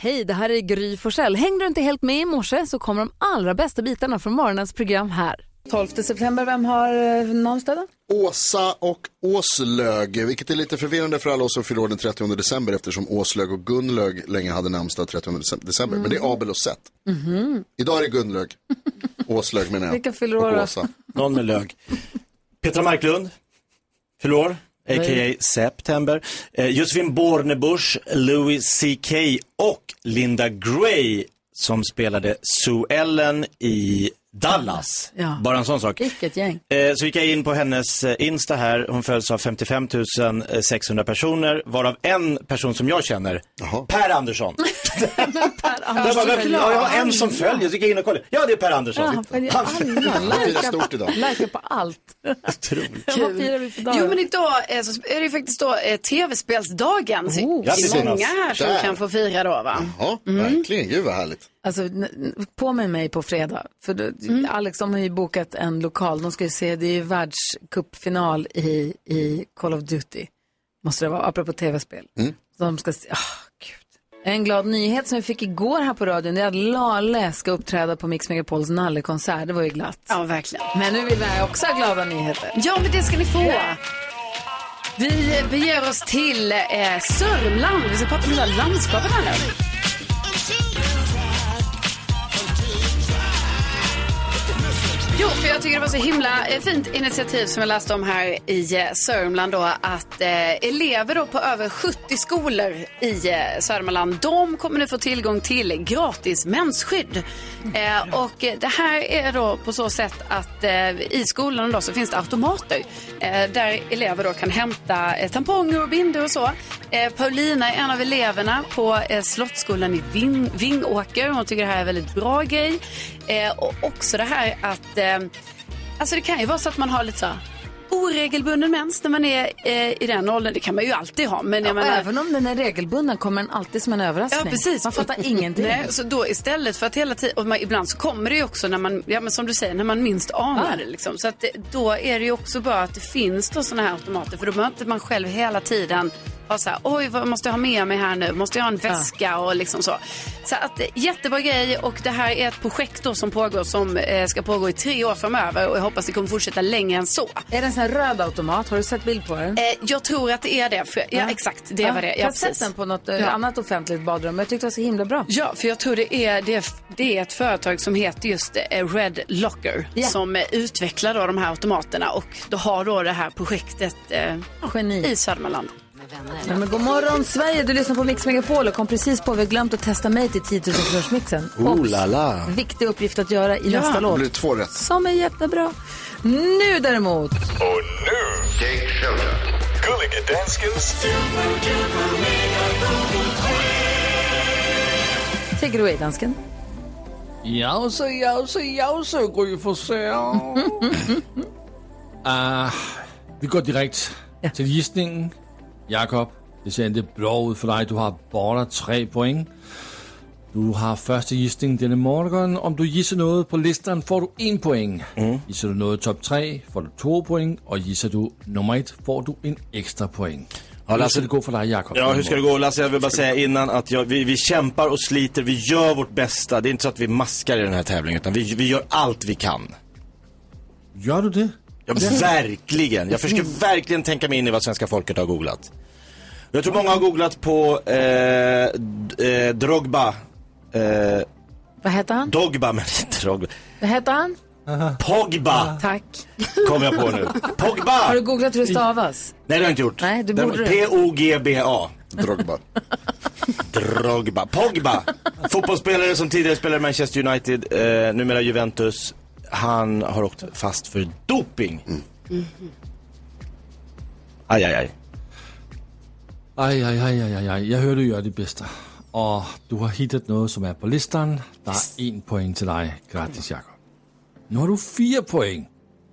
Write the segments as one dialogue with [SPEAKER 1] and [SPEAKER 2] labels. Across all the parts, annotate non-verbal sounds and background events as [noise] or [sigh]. [SPEAKER 1] Hej, det här är Gry Forssell. Hängde du inte helt med i morse så kommer de allra bästa bitarna från morgonens program här.
[SPEAKER 2] 12 september, vem har eh, namnsdag då?
[SPEAKER 3] Åsa och Åslög, vilket är lite förvirrande för alla oss som fyller år den 30 december eftersom Åslög och Gunlög länge hade namnsdag 30 december. Men det är Abel och Seth.
[SPEAKER 2] Mhm.
[SPEAKER 3] Idag är det Gunlög, Åslög menar jag.
[SPEAKER 2] Vilka fyller
[SPEAKER 3] Och
[SPEAKER 2] år då?
[SPEAKER 3] Åsa.
[SPEAKER 4] Någon med lög. Petra Marklund, fyller år, a.k.a. September. Eh, Josefin Bornebusch, Louis CK och Linda Gray som spelade Sue Ellen i Dallas.
[SPEAKER 2] Ja.
[SPEAKER 4] Bara en sån sak.
[SPEAKER 2] Vilket gäng.
[SPEAKER 4] Eh, Så gick jag in på hennes eh, Insta här. Hon följs av 55 600 personer, varav en person som jag känner, Per Andersson. Jag bara, vem- ja, jag har en som följer, så gick jag in och kollade. Ja, det är Per Andersson.
[SPEAKER 2] Alla
[SPEAKER 3] Han firar stort idag.
[SPEAKER 1] Likar på allt.
[SPEAKER 4] Otroligt.
[SPEAKER 1] Vad firar vi för dag?
[SPEAKER 5] Jo men idag eh, så är det ju faktiskt då eh, tv-spelsdagen. Så
[SPEAKER 2] Oh.
[SPEAKER 4] Grattis,
[SPEAKER 5] det är många
[SPEAKER 4] Jonas.
[SPEAKER 5] här som
[SPEAKER 3] Där. Mm.
[SPEAKER 5] kan få fira då va?
[SPEAKER 3] Ja,
[SPEAKER 2] Mm.
[SPEAKER 3] verkligen. Gud vad härligt.
[SPEAKER 2] Alltså, n- n- påminn mig på fredag. För då, Alex, de har ju bokat en lokal. De ska ju se, det är ju världscupfinal i, i Call of Duty. Måste det vara, apropå tv-spel.
[SPEAKER 5] Mm.
[SPEAKER 2] De ska se, ah gud. En glad nyhet som vi fick igår här på radion, det är att Lale ska uppträda på Mix Megapols nallekonsert. Det var ju glatt.
[SPEAKER 5] Ja verkligen.
[SPEAKER 2] Men nu vill vi också ha glada nyheter.
[SPEAKER 5] Ja men det ska ni få. Vi eh, beger oss till eh, Sörmland. Vi ska prata om det där landskapet här nu. Jo, för jag tycker det var så himla eh, fint initiativ som jag läste om här i eh, Sörmland då att eh, elever då på över 70 skolor i eh, Sörmland, de kommer nu få tillgång till gratis mensskydd. Eh, och eh, det här är då på så sätt att eh, i skolan då så finns det automater eh, där elever då kan hämta eh, tamponger och bindor och så. Eh, Paulina är en av eleverna på eh, Slottsskolan i Ving- Vingåker. Hon tycker det här är en väldigt bra grej. Eh, och också det här att eh, Alltså det kan ju vara så att man har lite så här oregelbunden mens när man är eh, i den åldern. Det kan man ju alltid ha. Men jag
[SPEAKER 2] Och
[SPEAKER 5] menar,
[SPEAKER 2] även om den är regelbunden kommer den alltid som en överraskning.
[SPEAKER 5] Ja, precis.
[SPEAKER 2] Man fattar ingenting.
[SPEAKER 5] Nej, så då istället för att hela tiden, och man, ibland så kommer det ju också när man, ja men som du säger, när man minst anar det liksom. Så att det, då är det ju också bra att det finns då sådana här automater för då behöver inte man själv hela tiden ha så här, oj vad måste jag ha med mig här nu, måste jag ha en väska och liksom så. Så att eh, jättebra grej och det här är ett projekt då som pågår som eh, ska pågå i tre år framöver och jag hoppas det kommer fortsätta längre än så.
[SPEAKER 2] Är det en sån här röd automat? Har du sett bild på den?
[SPEAKER 5] Eh, jag tror att det är det. För, ja, exakt. Det var det.
[SPEAKER 2] jag
[SPEAKER 5] Ja,
[SPEAKER 2] har sett
[SPEAKER 5] precis.
[SPEAKER 2] den på något eh,
[SPEAKER 5] Ja.
[SPEAKER 2] annat offentligt badrum, men jag tyckte det var så himla bra.
[SPEAKER 5] Ja, för jag tror det är, det är, det är ett företag som heter just eh, Red Locker
[SPEAKER 2] Ja.
[SPEAKER 5] som eh, utvecklar då de här automaterna och då har då det här projektet eh,
[SPEAKER 2] Geni.
[SPEAKER 5] i Södermanland.
[SPEAKER 2] Ja, men god morgon Sverige, du lyssnar på Mix Megapol och kom precis på att vi har glömt att testa mig till 10 000 kronorsmixen.
[SPEAKER 4] Oh la la.
[SPEAKER 2] Viktig uppgift att göra i nästa
[SPEAKER 3] Det
[SPEAKER 2] låt.
[SPEAKER 3] blir två rätt.
[SPEAKER 2] Som är jättebra. Nu däremot.
[SPEAKER 6] Och nu, Take Shelter. Gullige Danskens
[SPEAKER 2] Take it away dansken.
[SPEAKER 7] Jause, jause, jause, Gry Forssell. ah, vi går direkt til listningen. Jakob, det ser endelig bra ud for dig. Du har border tre point. Du har første listning denne morgen. Om du gisser noget på listeren, får du en point. Mm. Gisser du noget top 3, får du to point. Og gisser du nummer et, får du en ekstra point. Og lad os det gå for dig, Jakob.
[SPEAKER 4] Ja, hur ska det
[SPEAKER 7] Denne
[SPEAKER 4] gå? Lasse, jag vill bara säga innan att jag, vi, vi kämpar och sliter, vi gör vårt bästa. Det är inte så att vi maskar i den här tävlingen, utan vi, vi gör allt vi kan.
[SPEAKER 7] morgen. Gør du det?
[SPEAKER 4] Ja, verkligen. Jag försöker verkligen tänka mig in i vad svenska folket har googlat. Jag tror många har googlat på eh, d- eh, Drogba. Eh,
[SPEAKER 2] Vad heter han?
[SPEAKER 4] Dogba, men [laughs] inte Drogba.
[SPEAKER 2] [laughs] Vad heter han?
[SPEAKER 4] Pogba
[SPEAKER 2] Tack.
[SPEAKER 4] kom jag på nu. Pogba!
[SPEAKER 2] Har du googlat hur det stavas?
[SPEAKER 4] Nej, det har jag inte gjort.
[SPEAKER 2] Nej, det borde du.
[SPEAKER 4] P-O-G-B-A.
[SPEAKER 3] Drogba.
[SPEAKER 4] [laughs] Drogba. Pogba! Fotbollsspelare som tidigare spelade i Manchester United, eh, numera Juventus. Han har åkt fast för doping.
[SPEAKER 7] Mm.
[SPEAKER 4] Aj, aj, aj.
[SPEAKER 7] Ej, ej, ej, ej, ej, ej. Jeg hører, du gør det bedste. Og du har hittet noget, som er på listeren. Der er en point til dig. Gratis, Jakob. Nu har du fire point.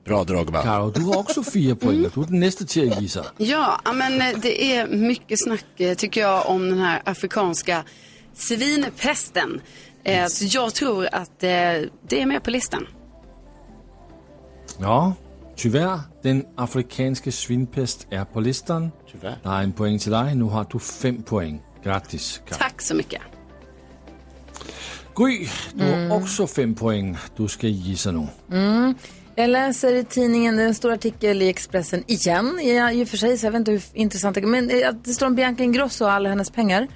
[SPEAKER 4] Bra Drogba.
[SPEAKER 7] Karo, du har også fire point, och du er den næste til at give sig.
[SPEAKER 5] Ja, ja, men eh, det är mycket snack eh, tycker jag om den här afrikanska svinpesten. Eh, så jag tror att eh, det är med på listan.
[SPEAKER 7] Ja, tyvärr, den afrikanske svinpest er på listeren. Tyvärr. Der er en point til dig. Nu har du fem point. Gratis, Karo.
[SPEAKER 5] Tack så mycket.
[SPEAKER 7] Gry, du har också fem poäng. Du ska gissa nu.
[SPEAKER 2] Mm. Jag läser i tidningen, det är en stor artikel i Expressen igen. Jag, I och för sig, så jag vet inte hur intressant det är. Men eh, det står om Bianca Ingrosso och alla
[SPEAKER 4] [laughs]
[SPEAKER 2] hennes pengar.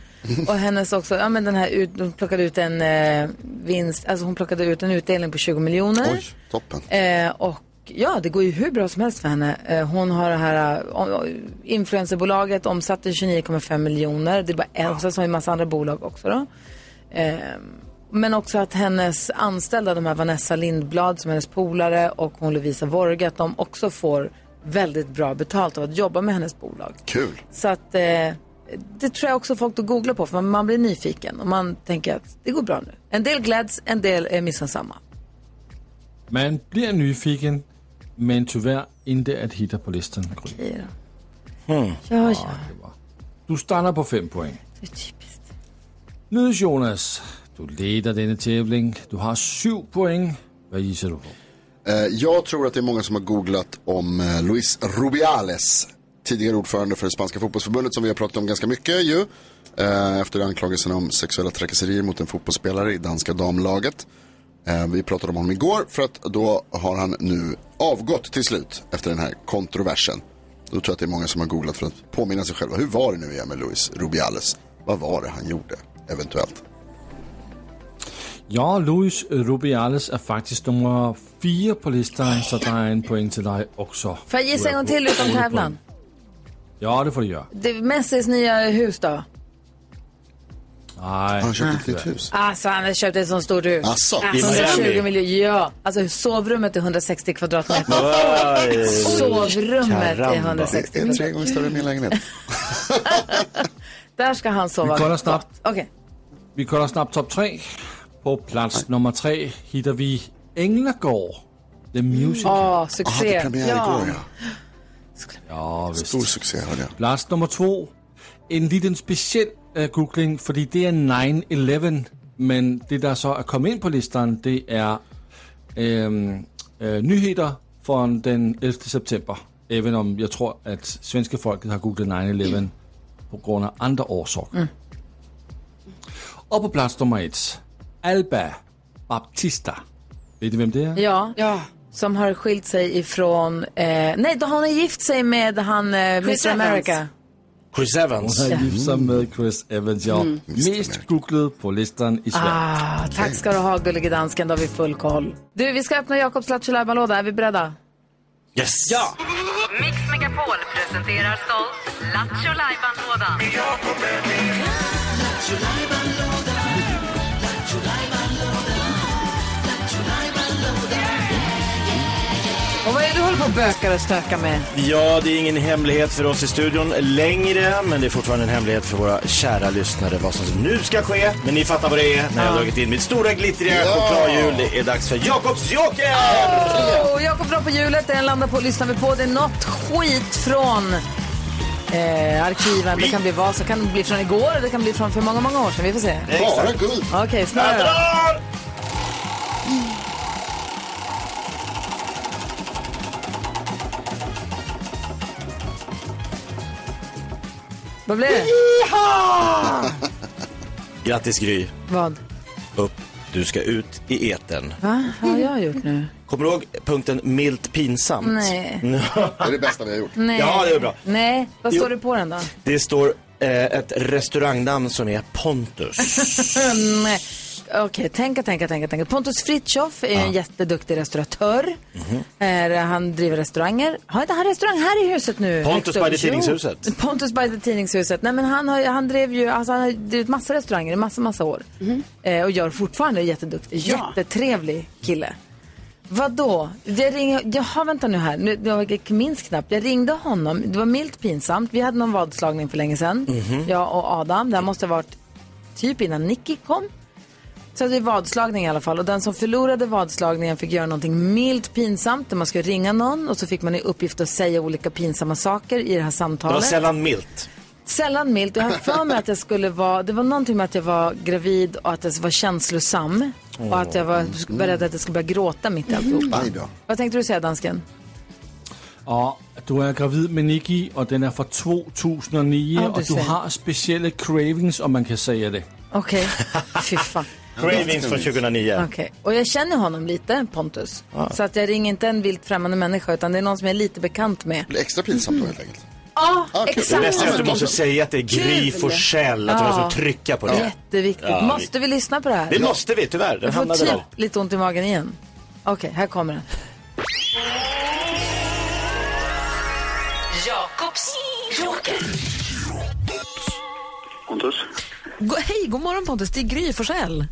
[SPEAKER 2] Och hennes också, ja men den här, ut, hon plockade ut en eh, vinst, alltså hon plockade ut en utdelning på 20 miljoner.
[SPEAKER 3] Oj, toppen.
[SPEAKER 2] Eh, och ja, det går ju hur bra som helst för henne. Eh, hon har det här eh, om- om- influencerbolaget omsatte 29,5 miljoner. Det är bara en, och sen så har vi en massa andra bolag också då. Eh, men också att hennes anställda, de här Vanessa Lindblad som är hennes polare och hon Lovisa Vorge, att de också får väldigt bra betalt av att jobba med hennes bolag.
[SPEAKER 3] Kul.
[SPEAKER 2] Så att eh, det tror jag också folk då googlar på för man, man blir nyfiken och man tänker att det går bra nu. En del gläds, en del är missunnsamma.
[SPEAKER 7] Man blir nyfiken, men tyvärr inte att hitta på listan, Gry.
[SPEAKER 2] Ja, ja. ja.
[SPEAKER 7] Du stannar på fem poäng.
[SPEAKER 2] Det är typiskt.
[SPEAKER 7] Nydes Jonas, du leder denna tävling. Du har sju poäng. Vad gissar du på?
[SPEAKER 3] Eh, jag tror att det är många som har googlat om eh, Luis Rubiales, tidigare ordförande för det spanska fotbollsförbundet som vi har pratat om ganska mycket ju. Eh, efter anklagelserna om sexuella trakasserier mot en fotbollsspelare i danska damlaget. Eh, vi pratade om honom igår för att då har han nu avgått till slut efter den här kontroversen. Då tror jag att det är många som har googlat för att påminna sig själva. Hur var det nu igen med Luis Rubiales? Vad var det han gjorde eventuellt?
[SPEAKER 7] Ja, Luis Rubiales är faktiskt nummer fyra på listan, så det är en poäng till dig också.
[SPEAKER 2] Får jag gissa en gång till utan tävlan?
[SPEAKER 7] Ja, det får du göra.
[SPEAKER 2] Det är Messis nya hus då?
[SPEAKER 7] Nej.
[SPEAKER 3] Han köpte ett nytt hus.
[SPEAKER 2] Alltså han har köpt ett sånt stort hus.
[SPEAKER 3] Asså,
[SPEAKER 4] I Miami.
[SPEAKER 2] 120 miljoner, ja. Alltså sovrummet är 160 kvadratmeter.
[SPEAKER 4] Oj.
[SPEAKER 2] Sovrummet är
[SPEAKER 4] Caramba.
[SPEAKER 2] 160
[SPEAKER 3] det är
[SPEAKER 2] kvadratmeter.
[SPEAKER 3] tre gånger större än min lägenhet.
[SPEAKER 2] Där ska han sova.
[SPEAKER 7] Vi kollar snabbt.
[SPEAKER 2] Okej.
[SPEAKER 7] Vi kollar snabbt topp tre. På plats nummer tre hittar vi Änglagård, The Musical.
[SPEAKER 2] Åh,
[SPEAKER 3] Ah, det
[SPEAKER 2] succé.
[SPEAKER 3] är premiär
[SPEAKER 2] ja.
[SPEAKER 3] igår ja.
[SPEAKER 7] Ja, visst.
[SPEAKER 3] Stor succé hörde jag.
[SPEAKER 7] Plats nummer två. En liten speciel äh, googling, för det är 9-11. Men det der så er kommet ind på listan, det er øhm, øh, nyheder fra den 11. september. Även om jeg tror, at svenske folket har googlet 9-11 på grund af andre årsager. Og på plads nummer et. Alba Baptista. Ved I, hvem det er?
[SPEAKER 2] ja.
[SPEAKER 5] Ja.
[SPEAKER 2] Som har skilt sig ifrån... Eh, nej, då har hon gift sig med han eh,
[SPEAKER 5] Chris
[SPEAKER 2] Mr
[SPEAKER 5] Evans.
[SPEAKER 2] America.
[SPEAKER 4] Chris Evans.
[SPEAKER 7] Har gift sig med Chris Evans, ja. Mest googlet på listan i Sverige.
[SPEAKER 2] Mm. Ah, tack ska du ha gullige dansken, då har vi full koll. Du, vi ska öppna Jakobs Lattjo är vi beredda?
[SPEAKER 4] Yes. Ja.
[SPEAKER 8] Mix Megapol presenterar stolt Lattjo Lajban-lådan.
[SPEAKER 2] Och vad är det du håller på och bökar och stökar med?
[SPEAKER 4] ja, det är ingen hemlighet för oss i studion längre, men det är fortfarande en hemlighet för våra kära lyssnare vad som nu ska ske. Men ni fattar vad det är när jag har dragit in mitt stora glittriga chokladhjul. Det är dags för Jakobs joker!
[SPEAKER 2] Oh, Jakob drar på hjulet, den landar på lyssnar vi på. Det är något skit från eh, arkiven. Det kan bli vad som kan det bli från igår, det kan bli från för många, många år sedan. Vi får se.
[SPEAKER 3] Bara guld.
[SPEAKER 2] Okej,
[SPEAKER 4] Jag
[SPEAKER 2] snurra då.
[SPEAKER 4] drar!
[SPEAKER 2] Vad blir det?
[SPEAKER 4] Grattis Gry.
[SPEAKER 2] Vad?
[SPEAKER 4] Upp. Du ska ut i etern.
[SPEAKER 2] Va? Vad har jag gjort nu?
[SPEAKER 4] Kommer du ihåg punkten milt pinsamt? [laughs]
[SPEAKER 2] Nej.
[SPEAKER 3] Det är det bästa vi har gjort.
[SPEAKER 2] Nej.
[SPEAKER 4] Ja, det är bra.
[SPEAKER 2] Nej, vad står
[SPEAKER 4] Jo.
[SPEAKER 2] det på den då? [laughs]
[SPEAKER 4] Det står eh, ett restaurangnamn som är Pontus.
[SPEAKER 2] Nej. Okej, tänka, tänka, tänka, tänka. Pontus Fritschoff är en jätteduktig restauratör.
[SPEAKER 9] Mm-hmm.
[SPEAKER 2] Eh, Han driver restauranger. Har inte han restaurang här i huset nu?
[SPEAKER 4] Pontus
[SPEAKER 2] Hector?
[SPEAKER 4] by the
[SPEAKER 2] Jo.
[SPEAKER 4] Tidningshuset.
[SPEAKER 2] Pontus by the Tidningshuset. Nej, men han, har, ju- han drev ju, alltså han har drivit massa restauranger i massa, massa år. Eh, och gör fortfarande, är jätteduktig.
[SPEAKER 5] Ja.
[SPEAKER 2] Jättetrevlig kille. Vadå? Jag ringer, jaha vänta nu här, nu, jag minns knappt. Jag ringde honom, det var milt pinsamt. Vi hade någon vadslagning för länge sedan, jag och Adam. Det här måste ha varit typ innan Nicky kom. Så hade vi vadslagning i alla fall och den som förlorade vadslagningen fick göra någonting milt pinsamt där man skulle ringa någon och så fick man i uppgift att säga olika pinsamma saker i det här
[SPEAKER 4] Det var
[SPEAKER 2] samtalet.
[SPEAKER 4] sällan milt.
[SPEAKER 2] Sällan milt. Jag har för mig att jag skulle vara, det var någonting med att jag var gravid och att jag var känslosam. Och att jag var beredd att jag skulle börja gråta mitt i
[SPEAKER 4] Mm.
[SPEAKER 2] alltihopa.
[SPEAKER 3] Aj då.
[SPEAKER 2] Vad tänkte du säga dansken?
[SPEAKER 7] Og du er gravid med Nikki, og den er fra 2009,
[SPEAKER 2] Ja, det
[SPEAKER 7] og du
[SPEAKER 2] ser jeg.
[SPEAKER 4] [laughs]
[SPEAKER 7] har specielle cravings, om man kan sige det.
[SPEAKER 2] Okej, fy fan.
[SPEAKER 4] Cravings från 2009.
[SPEAKER 2] Okej, och jag känner honom lite, Pontus. Så att jag ringer inte en vilt främmande människa utan det är någon som jag är lite bekant med.
[SPEAKER 3] Det blir extra pinsamt då helt enkelt.
[SPEAKER 2] Ja,
[SPEAKER 3] Ah, kul.
[SPEAKER 4] Det
[SPEAKER 2] exakt.
[SPEAKER 4] bästa är att du
[SPEAKER 3] men-
[SPEAKER 4] måste säga att det är Gry
[SPEAKER 2] Kul.
[SPEAKER 4] Forssell, att det var som trycka på det.
[SPEAKER 2] Jätteviktigt.
[SPEAKER 4] Ja,
[SPEAKER 2] Måste vi lyssna på det här?
[SPEAKER 4] Det måste vi tyvärr, den
[SPEAKER 2] Jag får
[SPEAKER 4] hamnade
[SPEAKER 2] typ
[SPEAKER 4] där.
[SPEAKER 2] lite ont i magen igen. Okej, här kommer den.
[SPEAKER 8] Jakobs joker.
[SPEAKER 10] Pontus?
[SPEAKER 2] Go- Hej, god morgon Pontus. Det är Gry Forssell.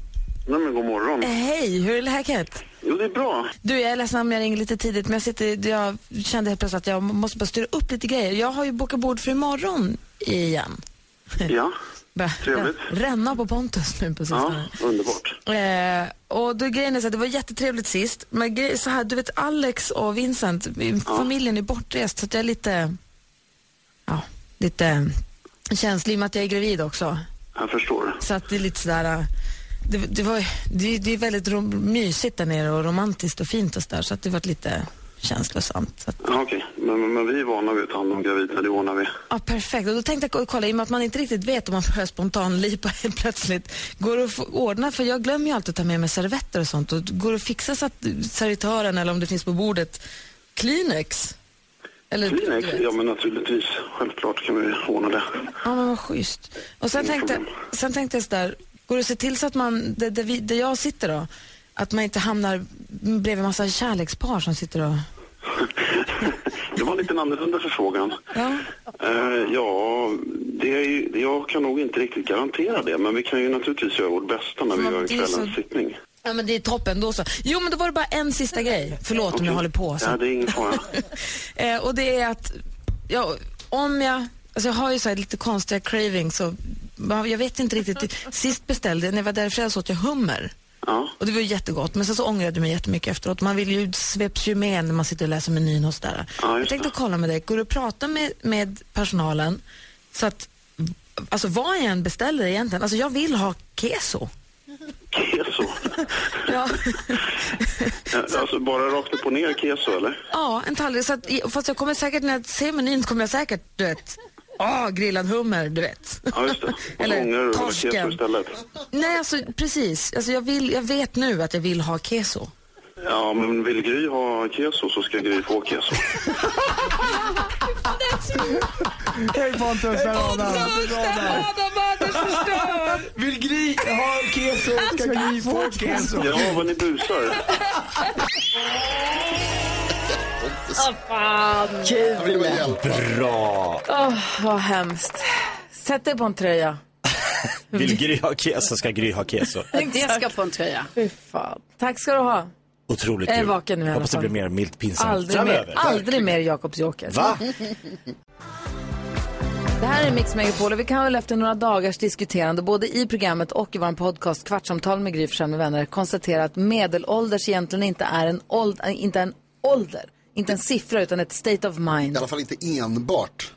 [SPEAKER 10] Nej men god morgon.
[SPEAKER 2] Hej, hur är läget?
[SPEAKER 10] Jo det är bra.
[SPEAKER 2] Du, jag är ledsen om jag ringer lite tidigt, men jag, sitter, jag kände helt plötsligt att jag måste bara styra upp lite grejer. Jag har ju bokat bord för imorgon igen. [laughs]
[SPEAKER 10] Ja,
[SPEAKER 2] Börjar
[SPEAKER 10] Trevligt.
[SPEAKER 2] Ränna på Pontus nu på
[SPEAKER 10] ja
[SPEAKER 2] sistone.
[SPEAKER 10] underbart.
[SPEAKER 2] Eh, och då grejen är så att det var jättetrevligt sist, men grej, så här, du vet Alex och Vincent, min- familjen är bortrest så att jag är lite, ja, lite känslig i och med att jag är gravid också.
[SPEAKER 10] Jag förstår.
[SPEAKER 2] Så att det är lite sådär, eh, det, det, var, det, det är väldigt rom, mysigt där nere och romantiskt och fint och sådär så att det varit lite känslosamt. Så att,
[SPEAKER 10] Ja, Okej, men, men, men vi är vana vid att ta hand om gravida, det ordnar vi.
[SPEAKER 2] ja, perfekt. Och då tänkte jag gå och kolla, i och med att man inte riktigt vet om man börjar spontanlipa helt [laughs] plötsligt, går det att få ordna, för jag glömmer ju alltid att ta med mig servetter och sånt, och går det att fixa så att servitören, eller om det finns på bordet, Kleenex? Eller,
[SPEAKER 10] Kleenex?
[SPEAKER 2] du vet.
[SPEAKER 10] Ja men naturligtvis. Självklart kan vi ordna det.
[SPEAKER 2] Ja, men vad schysst. Och sen tänkte, sen tänkte jag sådär, går det att se till så att man, där, där, vi, där jag sitter då, att man inte hamnar bredvid en massa kärlekspar som sitter och...
[SPEAKER 10] Det var en liten annorlunda förfrågan.
[SPEAKER 2] Ja.
[SPEAKER 10] Eh, ja, det är ju, jag kan nog inte riktigt garantera det, men vi kan ju naturligtvis göra vårt bästa när vi
[SPEAKER 2] Men
[SPEAKER 10] gör
[SPEAKER 2] det är så-
[SPEAKER 10] kvällens sittning.
[SPEAKER 2] Ja, men det är toppen då så. Jo, men då var det bara en sista grej. Förlåt om jag håller på. Så.
[SPEAKER 10] Ja, det är ingen
[SPEAKER 2] [laughs]
[SPEAKER 10] fara.
[SPEAKER 2] Eh, och det är att, ja, om jag, alltså jag har ju så här lite konstiga cravings och ja, jag vet inte riktigt. Sist beställde jag, när jag var där i fredags åt jag hummer.
[SPEAKER 10] Ja.
[SPEAKER 2] Och det var ju jättegott, men sen så ångrade jag mig jättemycket efteråt. Man vill ju, sveps ju med när man sitter och läser menyn och sådär.
[SPEAKER 10] Ja,
[SPEAKER 2] jag
[SPEAKER 10] just
[SPEAKER 2] tänkte
[SPEAKER 10] det.
[SPEAKER 2] kolla med dig, går du att prata med, med personalen så att, alltså vad jag än beställer egentligen, alltså jag vill ha keso.
[SPEAKER 10] Keso?
[SPEAKER 2] [laughs] Ja.
[SPEAKER 10] Eh, Alltså bara rakt upp och ner keso, eller?
[SPEAKER 2] Ja, en tallrik. Så att, fast jag kommer säkert, när jag ser menyn kommer jag säkert, du vet, ah, grillad hummer, du vet.
[SPEAKER 10] Ja, just det. Och så ångrar du över keso istället.
[SPEAKER 2] [laughs] Nej, alltså precis. Alltså, jag, vill, jag vet nu att jag vill ha keso.
[SPEAKER 10] Ja, men vill Gry ha keso så ska Gry få keso.
[SPEAKER 9] Hej Pontus, där har han. Vill Gry ha keso ska Gry få keso.
[SPEAKER 10] Ja, vad ni busar.
[SPEAKER 3] Jag vill bara
[SPEAKER 2] typ
[SPEAKER 3] hjälpa.
[SPEAKER 4] Bra!
[SPEAKER 2] Vad hemskt. Sätt dig på en tröja.
[SPEAKER 4] Vill Gry ha keso ska Gry ha keso.
[SPEAKER 5] Det ska på en tröja.
[SPEAKER 2] Fy fan. Tack ska du ha.
[SPEAKER 4] Otroligt
[SPEAKER 2] Jag är
[SPEAKER 4] kul.
[SPEAKER 2] vaken nu i alla
[SPEAKER 4] Hoppas det
[SPEAKER 2] fall.
[SPEAKER 4] blir mer milt pinsamt
[SPEAKER 2] Aldrig
[SPEAKER 4] framöver.
[SPEAKER 2] mer, aldrig mer Jakobs joker.
[SPEAKER 4] Va?
[SPEAKER 2] Det här är Mix Megapol och vi kan väl efter några dagars diskuterande både i programmet och i vår podcast Kvartsamtal med Gry Forssell med vänner konstatera att medelålders egentligen inte är en ålder, inte en ålder, inte en siffra utan ett state of
[SPEAKER 3] I
[SPEAKER 2] mind.
[SPEAKER 3] alla fall inte enbart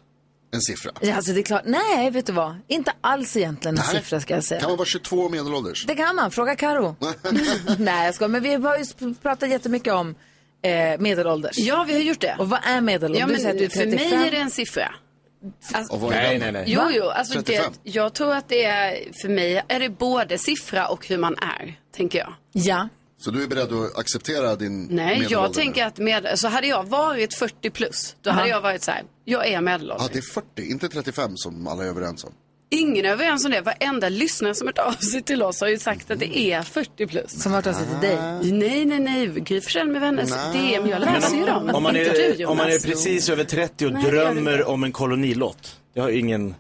[SPEAKER 3] en siffra.
[SPEAKER 2] Ja, Alltså det är klart, nej vet du vad, inte alls egentligen en
[SPEAKER 3] Nej.
[SPEAKER 2] siffra ska jag säga.
[SPEAKER 3] Kan man vara 22 och medelålders?
[SPEAKER 2] Det kan man,
[SPEAKER 3] [laughs]
[SPEAKER 2] fråga Karo. [laughs] nej jag ska, men vi har ju sp- pratat jättemycket om eh, medelålders.
[SPEAKER 5] Ja, vi har gjort det.
[SPEAKER 2] Och vad är medelålders?
[SPEAKER 5] Ja,
[SPEAKER 2] Du säger att du är
[SPEAKER 5] men för
[SPEAKER 2] 35.
[SPEAKER 5] mig är det en siffra. Alltså,
[SPEAKER 3] Och vad är den?
[SPEAKER 9] nej.
[SPEAKER 5] Jo, jo, alltså det,
[SPEAKER 3] 35?
[SPEAKER 5] jag tror att det är, för mig är det både siffra och hur man är, tänker jag.
[SPEAKER 2] Ja.
[SPEAKER 3] Så du är beredd att acceptera din
[SPEAKER 5] Nej,
[SPEAKER 3] medelålder
[SPEAKER 5] jag
[SPEAKER 3] nu?
[SPEAKER 5] tänker att med, så hade jag varit 40 plus, då hade jag varit så här, jag är medelålders.
[SPEAKER 3] Ja, det är 40, inte 35 som alla är överens om.
[SPEAKER 5] Ingen är överens om det, varenda lyssnare som hört av sig till oss har ju sagt att det är 40 plus.
[SPEAKER 2] Som har tagit sig till dig.
[SPEAKER 5] Nej, nej, nej, Gry Forssell med vänners DM, jag läser ju dem.
[SPEAKER 4] Om man
[SPEAKER 5] Inte du,
[SPEAKER 4] är, om man är
[SPEAKER 5] Jonas.
[SPEAKER 4] precis över 30 och
[SPEAKER 5] Nej, det gör det
[SPEAKER 4] drömmer om en kolonilott. Jag har ingen...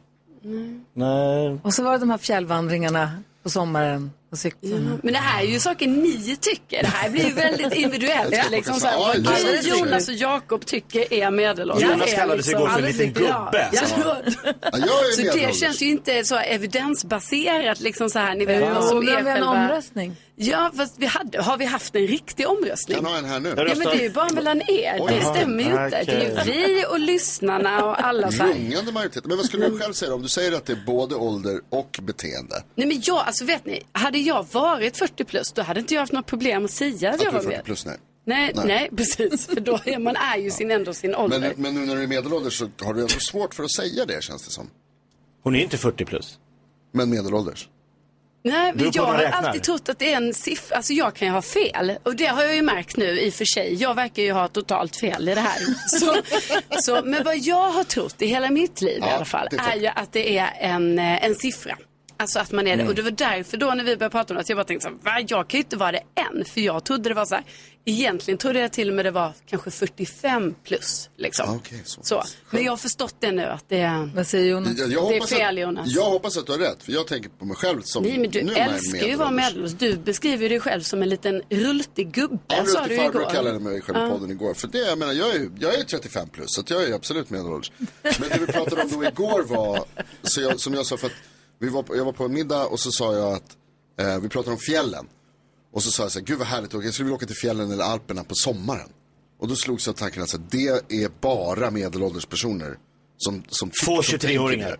[SPEAKER 4] Nej.
[SPEAKER 3] Eh.
[SPEAKER 2] Och så var det de här fjällvandringarna på sommaren och cyklarna.
[SPEAKER 5] Men det här är ju saker ni tycker. Det här blir ju
[SPEAKER 3] [laughs]
[SPEAKER 5] väldigt individuellt.
[SPEAKER 3] Jag tror
[SPEAKER 5] liksom,
[SPEAKER 3] folk
[SPEAKER 5] så här,
[SPEAKER 3] kan
[SPEAKER 5] vad
[SPEAKER 3] säga, "Oj,
[SPEAKER 5] Gry,
[SPEAKER 3] det är
[SPEAKER 5] Jonas och Jakob tycker är medelålders.
[SPEAKER 4] Jonas
[SPEAKER 5] är
[SPEAKER 4] kallade sig igår för en
[SPEAKER 2] liksom
[SPEAKER 4] liten gubbe.
[SPEAKER 5] Ja,
[SPEAKER 4] Så-
[SPEAKER 5] ja.
[SPEAKER 3] Ja, jag är
[SPEAKER 5] Så det
[SPEAKER 3] medelålders.
[SPEAKER 5] känns ju inte så evidensbaserat. Liksom så här, ni vet, vad
[SPEAKER 2] Och
[SPEAKER 5] som
[SPEAKER 2] nu har
[SPEAKER 5] är
[SPEAKER 2] vi en
[SPEAKER 5] själva...
[SPEAKER 2] omröstning.
[SPEAKER 5] Ja, fast vi hade, har vi haft en riktig omröstning?
[SPEAKER 3] Kan ha en här nu.
[SPEAKER 5] Ja, men det är ju bara mellan er. det stämmer ju inte. Det är ju vi och lyssnarna och alla så här.
[SPEAKER 3] Rungande majoritet. Men vad skulle du själv säga då? om du säger att det är både ålder och beteende?
[SPEAKER 5] Nej men jag, alltså vet ni, hade jag varit 40 plus då hade inte jag haft något problem att säga att
[SPEAKER 3] Att
[SPEAKER 5] jag
[SPEAKER 3] du är
[SPEAKER 5] var
[SPEAKER 3] 40
[SPEAKER 5] med.
[SPEAKER 3] plus, nej.
[SPEAKER 5] Nej,
[SPEAKER 3] Nej.
[SPEAKER 5] nej, precis. För då är man är ju sin, ändå sin ålder.
[SPEAKER 3] Men, men nu när du är medelålders så har du ändå svårt för att säga det känns det som.
[SPEAKER 4] Hon är inte 40 plus.
[SPEAKER 3] Men medelålders.
[SPEAKER 5] Nej,
[SPEAKER 9] Beror på
[SPEAKER 5] jag
[SPEAKER 9] hur man
[SPEAKER 5] har
[SPEAKER 9] räknar.
[SPEAKER 5] alltid trott att det är en siffra. Alltså jag kan ju ha fel. Och det har jag ju märkt nu i och för sig. Jag verkar ju ha totalt fel i det här. Så, så, men vad jag har trott i hela mitt liv i
[SPEAKER 9] Ja,
[SPEAKER 5] alla fall
[SPEAKER 9] det
[SPEAKER 5] är ju att det är en, eh, en siffra. Alltså att man är det.
[SPEAKER 9] Mm.
[SPEAKER 5] Och det var därför då när vi började prata om det, att jag bara tänkte så här, "Va? jag kan ju inte vara det än. För jag trodde det var så här, egentligen trodde jag till och med det var kanske 45 plus. Liksom.
[SPEAKER 3] Ah,
[SPEAKER 5] så. Men jag har förstått det nu att det är,
[SPEAKER 2] Vad säger Jonas?
[SPEAKER 3] Jag, jag
[SPEAKER 5] Mm. det är
[SPEAKER 3] hoppas
[SPEAKER 5] fel
[SPEAKER 3] att,
[SPEAKER 5] Jonas.
[SPEAKER 3] Jag hoppas att du har rätt, för jag tänker på mig själv som...
[SPEAKER 5] Nej, men du
[SPEAKER 3] nu är man
[SPEAKER 5] älskar ju att vara
[SPEAKER 3] medelålders.
[SPEAKER 5] medelålders. Du beskriver ju dig själv som en liten rultig gubbe,
[SPEAKER 3] Ja,
[SPEAKER 5] sa du ju
[SPEAKER 3] farbror
[SPEAKER 5] igår.
[SPEAKER 3] kallade mig själv i
[SPEAKER 5] Ja.
[SPEAKER 3] podden igår. För det, jag menar, jag är ju jag är ju 35 plus, så att jag är ju absolut medelålders. Men det vi pratade om då igår var, så jag, som jag sa, för att vi var, på- jag var på en middag och så sa jag att, eh, vi pratade om fjällen. Och så sa jag så här, gud vad härligt, jag skulle vilja åka till fjällen eller Alperna på sommaren. Och då slogs jag av tanken att så här, det är bara medelålders personer som, som
[SPEAKER 4] Få
[SPEAKER 3] som
[SPEAKER 4] 23-åringar.
[SPEAKER 3] tänker det.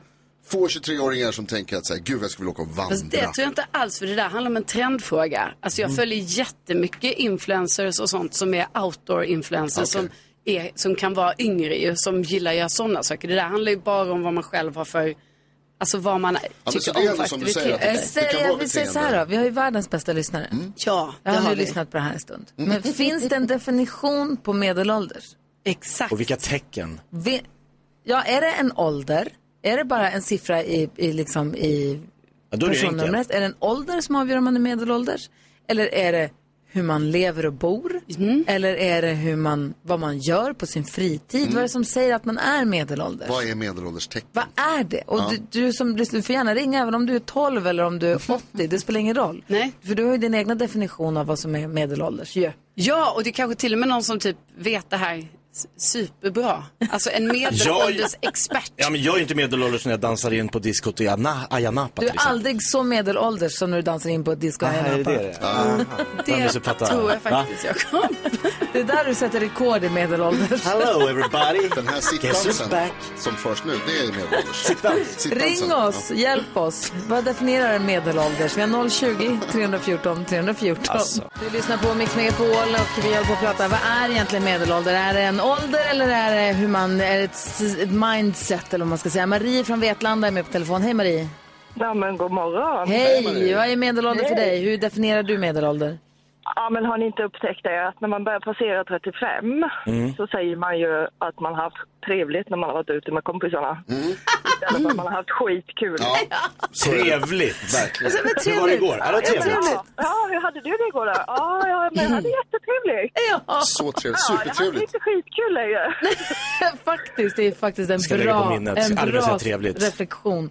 [SPEAKER 3] Få 23-åringar som tänker att så här, gud jag skulle vilja åka och vandra.
[SPEAKER 5] Fast det tror jag inte alls, för det där handlar om en trendfråga. Alltså jag
[SPEAKER 3] Mm.
[SPEAKER 5] följer jättemycket influencers och sånt som är outdoor-influencers som, är, som kan vara yngre ju, som gillar att göra sådana saker. Det där handlar ju bara om vad man själv har för, alltså vad man
[SPEAKER 3] men så
[SPEAKER 5] tycker
[SPEAKER 3] det är
[SPEAKER 5] om för
[SPEAKER 3] ändå som du säger,
[SPEAKER 5] aktiviteter.
[SPEAKER 2] Jag säger, Eh, jag vill säga så här då, vi har ju världens bästa lyssnare.
[SPEAKER 3] Mm.
[SPEAKER 5] Ja,
[SPEAKER 2] Jag
[SPEAKER 5] det
[SPEAKER 2] har
[SPEAKER 5] har
[SPEAKER 2] nu
[SPEAKER 5] vi.
[SPEAKER 2] lyssnat på det här en stund. Men finns det en definition på medelålders?
[SPEAKER 5] Exakt.
[SPEAKER 4] Och vilka tecken?
[SPEAKER 2] Vi, ja, är det en ålder? Är det bara en siffra i, i, liksom i
[SPEAKER 4] Ja, då är det ju
[SPEAKER 2] personnumret?
[SPEAKER 4] enkelt.
[SPEAKER 2] Är det en ålder som avgör om man är medelålders? Eller är det hur man lever och bor? Eller är det hur man, vad man gör på sin fritid? Vad är det som säger att man är medelålders?
[SPEAKER 3] Vad är medelålderstecken?
[SPEAKER 2] Vad är det? Och
[SPEAKER 3] Ja.
[SPEAKER 2] du, du som lyssnar, du får gärna ringa även om du är 12 eller om du
[SPEAKER 4] [laughs]
[SPEAKER 2] är 80. Det spelar ingen roll.
[SPEAKER 5] Nej.
[SPEAKER 2] För du har ju din egna definition av vad som är medelålders ju.
[SPEAKER 5] Ja, och det är kanske till och med någon som typ vet det här s- superbra. Alltså en medelålders expert.
[SPEAKER 4] Ja, men jag är ju inte medelålders när jag dansar in på diskot i Ana- Ayia Napa
[SPEAKER 2] Du
[SPEAKER 4] till
[SPEAKER 2] är
[SPEAKER 4] exempel.
[SPEAKER 2] aldrig så medelålders som när du dansar in på ett disco.
[SPEAKER 4] Ah, är det det det är? Ah,
[SPEAKER 2] Mm.
[SPEAKER 4] jag har missuppfattat. Va?
[SPEAKER 5] Jakob.
[SPEAKER 2] Det är där du sätter rekord i medelålders.
[SPEAKER 4] Hello everybody.
[SPEAKER 3] Den här
[SPEAKER 4] Guess who's
[SPEAKER 3] sittdansen
[SPEAKER 4] back?
[SPEAKER 3] som förs nu, det är medelålders. Sittdansen,
[SPEAKER 2] Ring
[SPEAKER 3] ja.
[SPEAKER 2] oss, hjälp oss. Vad definierar en medelålders? Vi har 020 314 314.
[SPEAKER 9] Alltså.
[SPEAKER 2] Du lyssnar på Mix Megapol och vi håller på att prata. Vad är egentligen medelålder? Är det en ålder eller är det hur man, är det ett, ett mindset eller vad man ska säga? Marie från Vetlanda är med på telefon. Hej Marie.
[SPEAKER 11] Ja, men god morgon.
[SPEAKER 2] Hej, vad är medelålder för
[SPEAKER 11] Hej.
[SPEAKER 2] dig? Hur definierar du medelålder?
[SPEAKER 11] Ja, men har ni inte upptäckt det att när man börjar passera 35
[SPEAKER 2] Mm.
[SPEAKER 11] så säger man ju att man har haft trevligt när man har varit ute med kompisarna.
[SPEAKER 3] Mm.
[SPEAKER 11] Istället för att man har haft skitkul.
[SPEAKER 4] Trevligt.
[SPEAKER 11] Alltså, men
[SPEAKER 4] Hur var det
[SPEAKER 11] trevligt.
[SPEAKER 4] igår? Ja, det var
[SPEAKER 11] Ja,
[SPEAKER 4] trevligt.
[SPEAKER 11] Ja, ja, hur hade du det igår då? Ja, ja men jag hade jättetrevligt.
[SPEAKER 2] Mm. Ja.
[SPEAKER 3] Så trevligt.
[SPEAKER 11] Ja, jag hade
[SPEAKER 3] Supertrevligt.
[SPEAKER 11] lite skitkul längre.
[SPEAKER 2] [laughs] faktiskt, det är faktiskt en
[SPEAKER 4] Ska lägga på
[SPEAKER 2] bra,
[SPEAKER 4] minnet.
[SPEAKER 2] en
[SPEAKER 4] Aldrig
[SPEAKER 2] bra
[SPEAKER 4] så trevligt.
[SPEAKER 2] reflektion.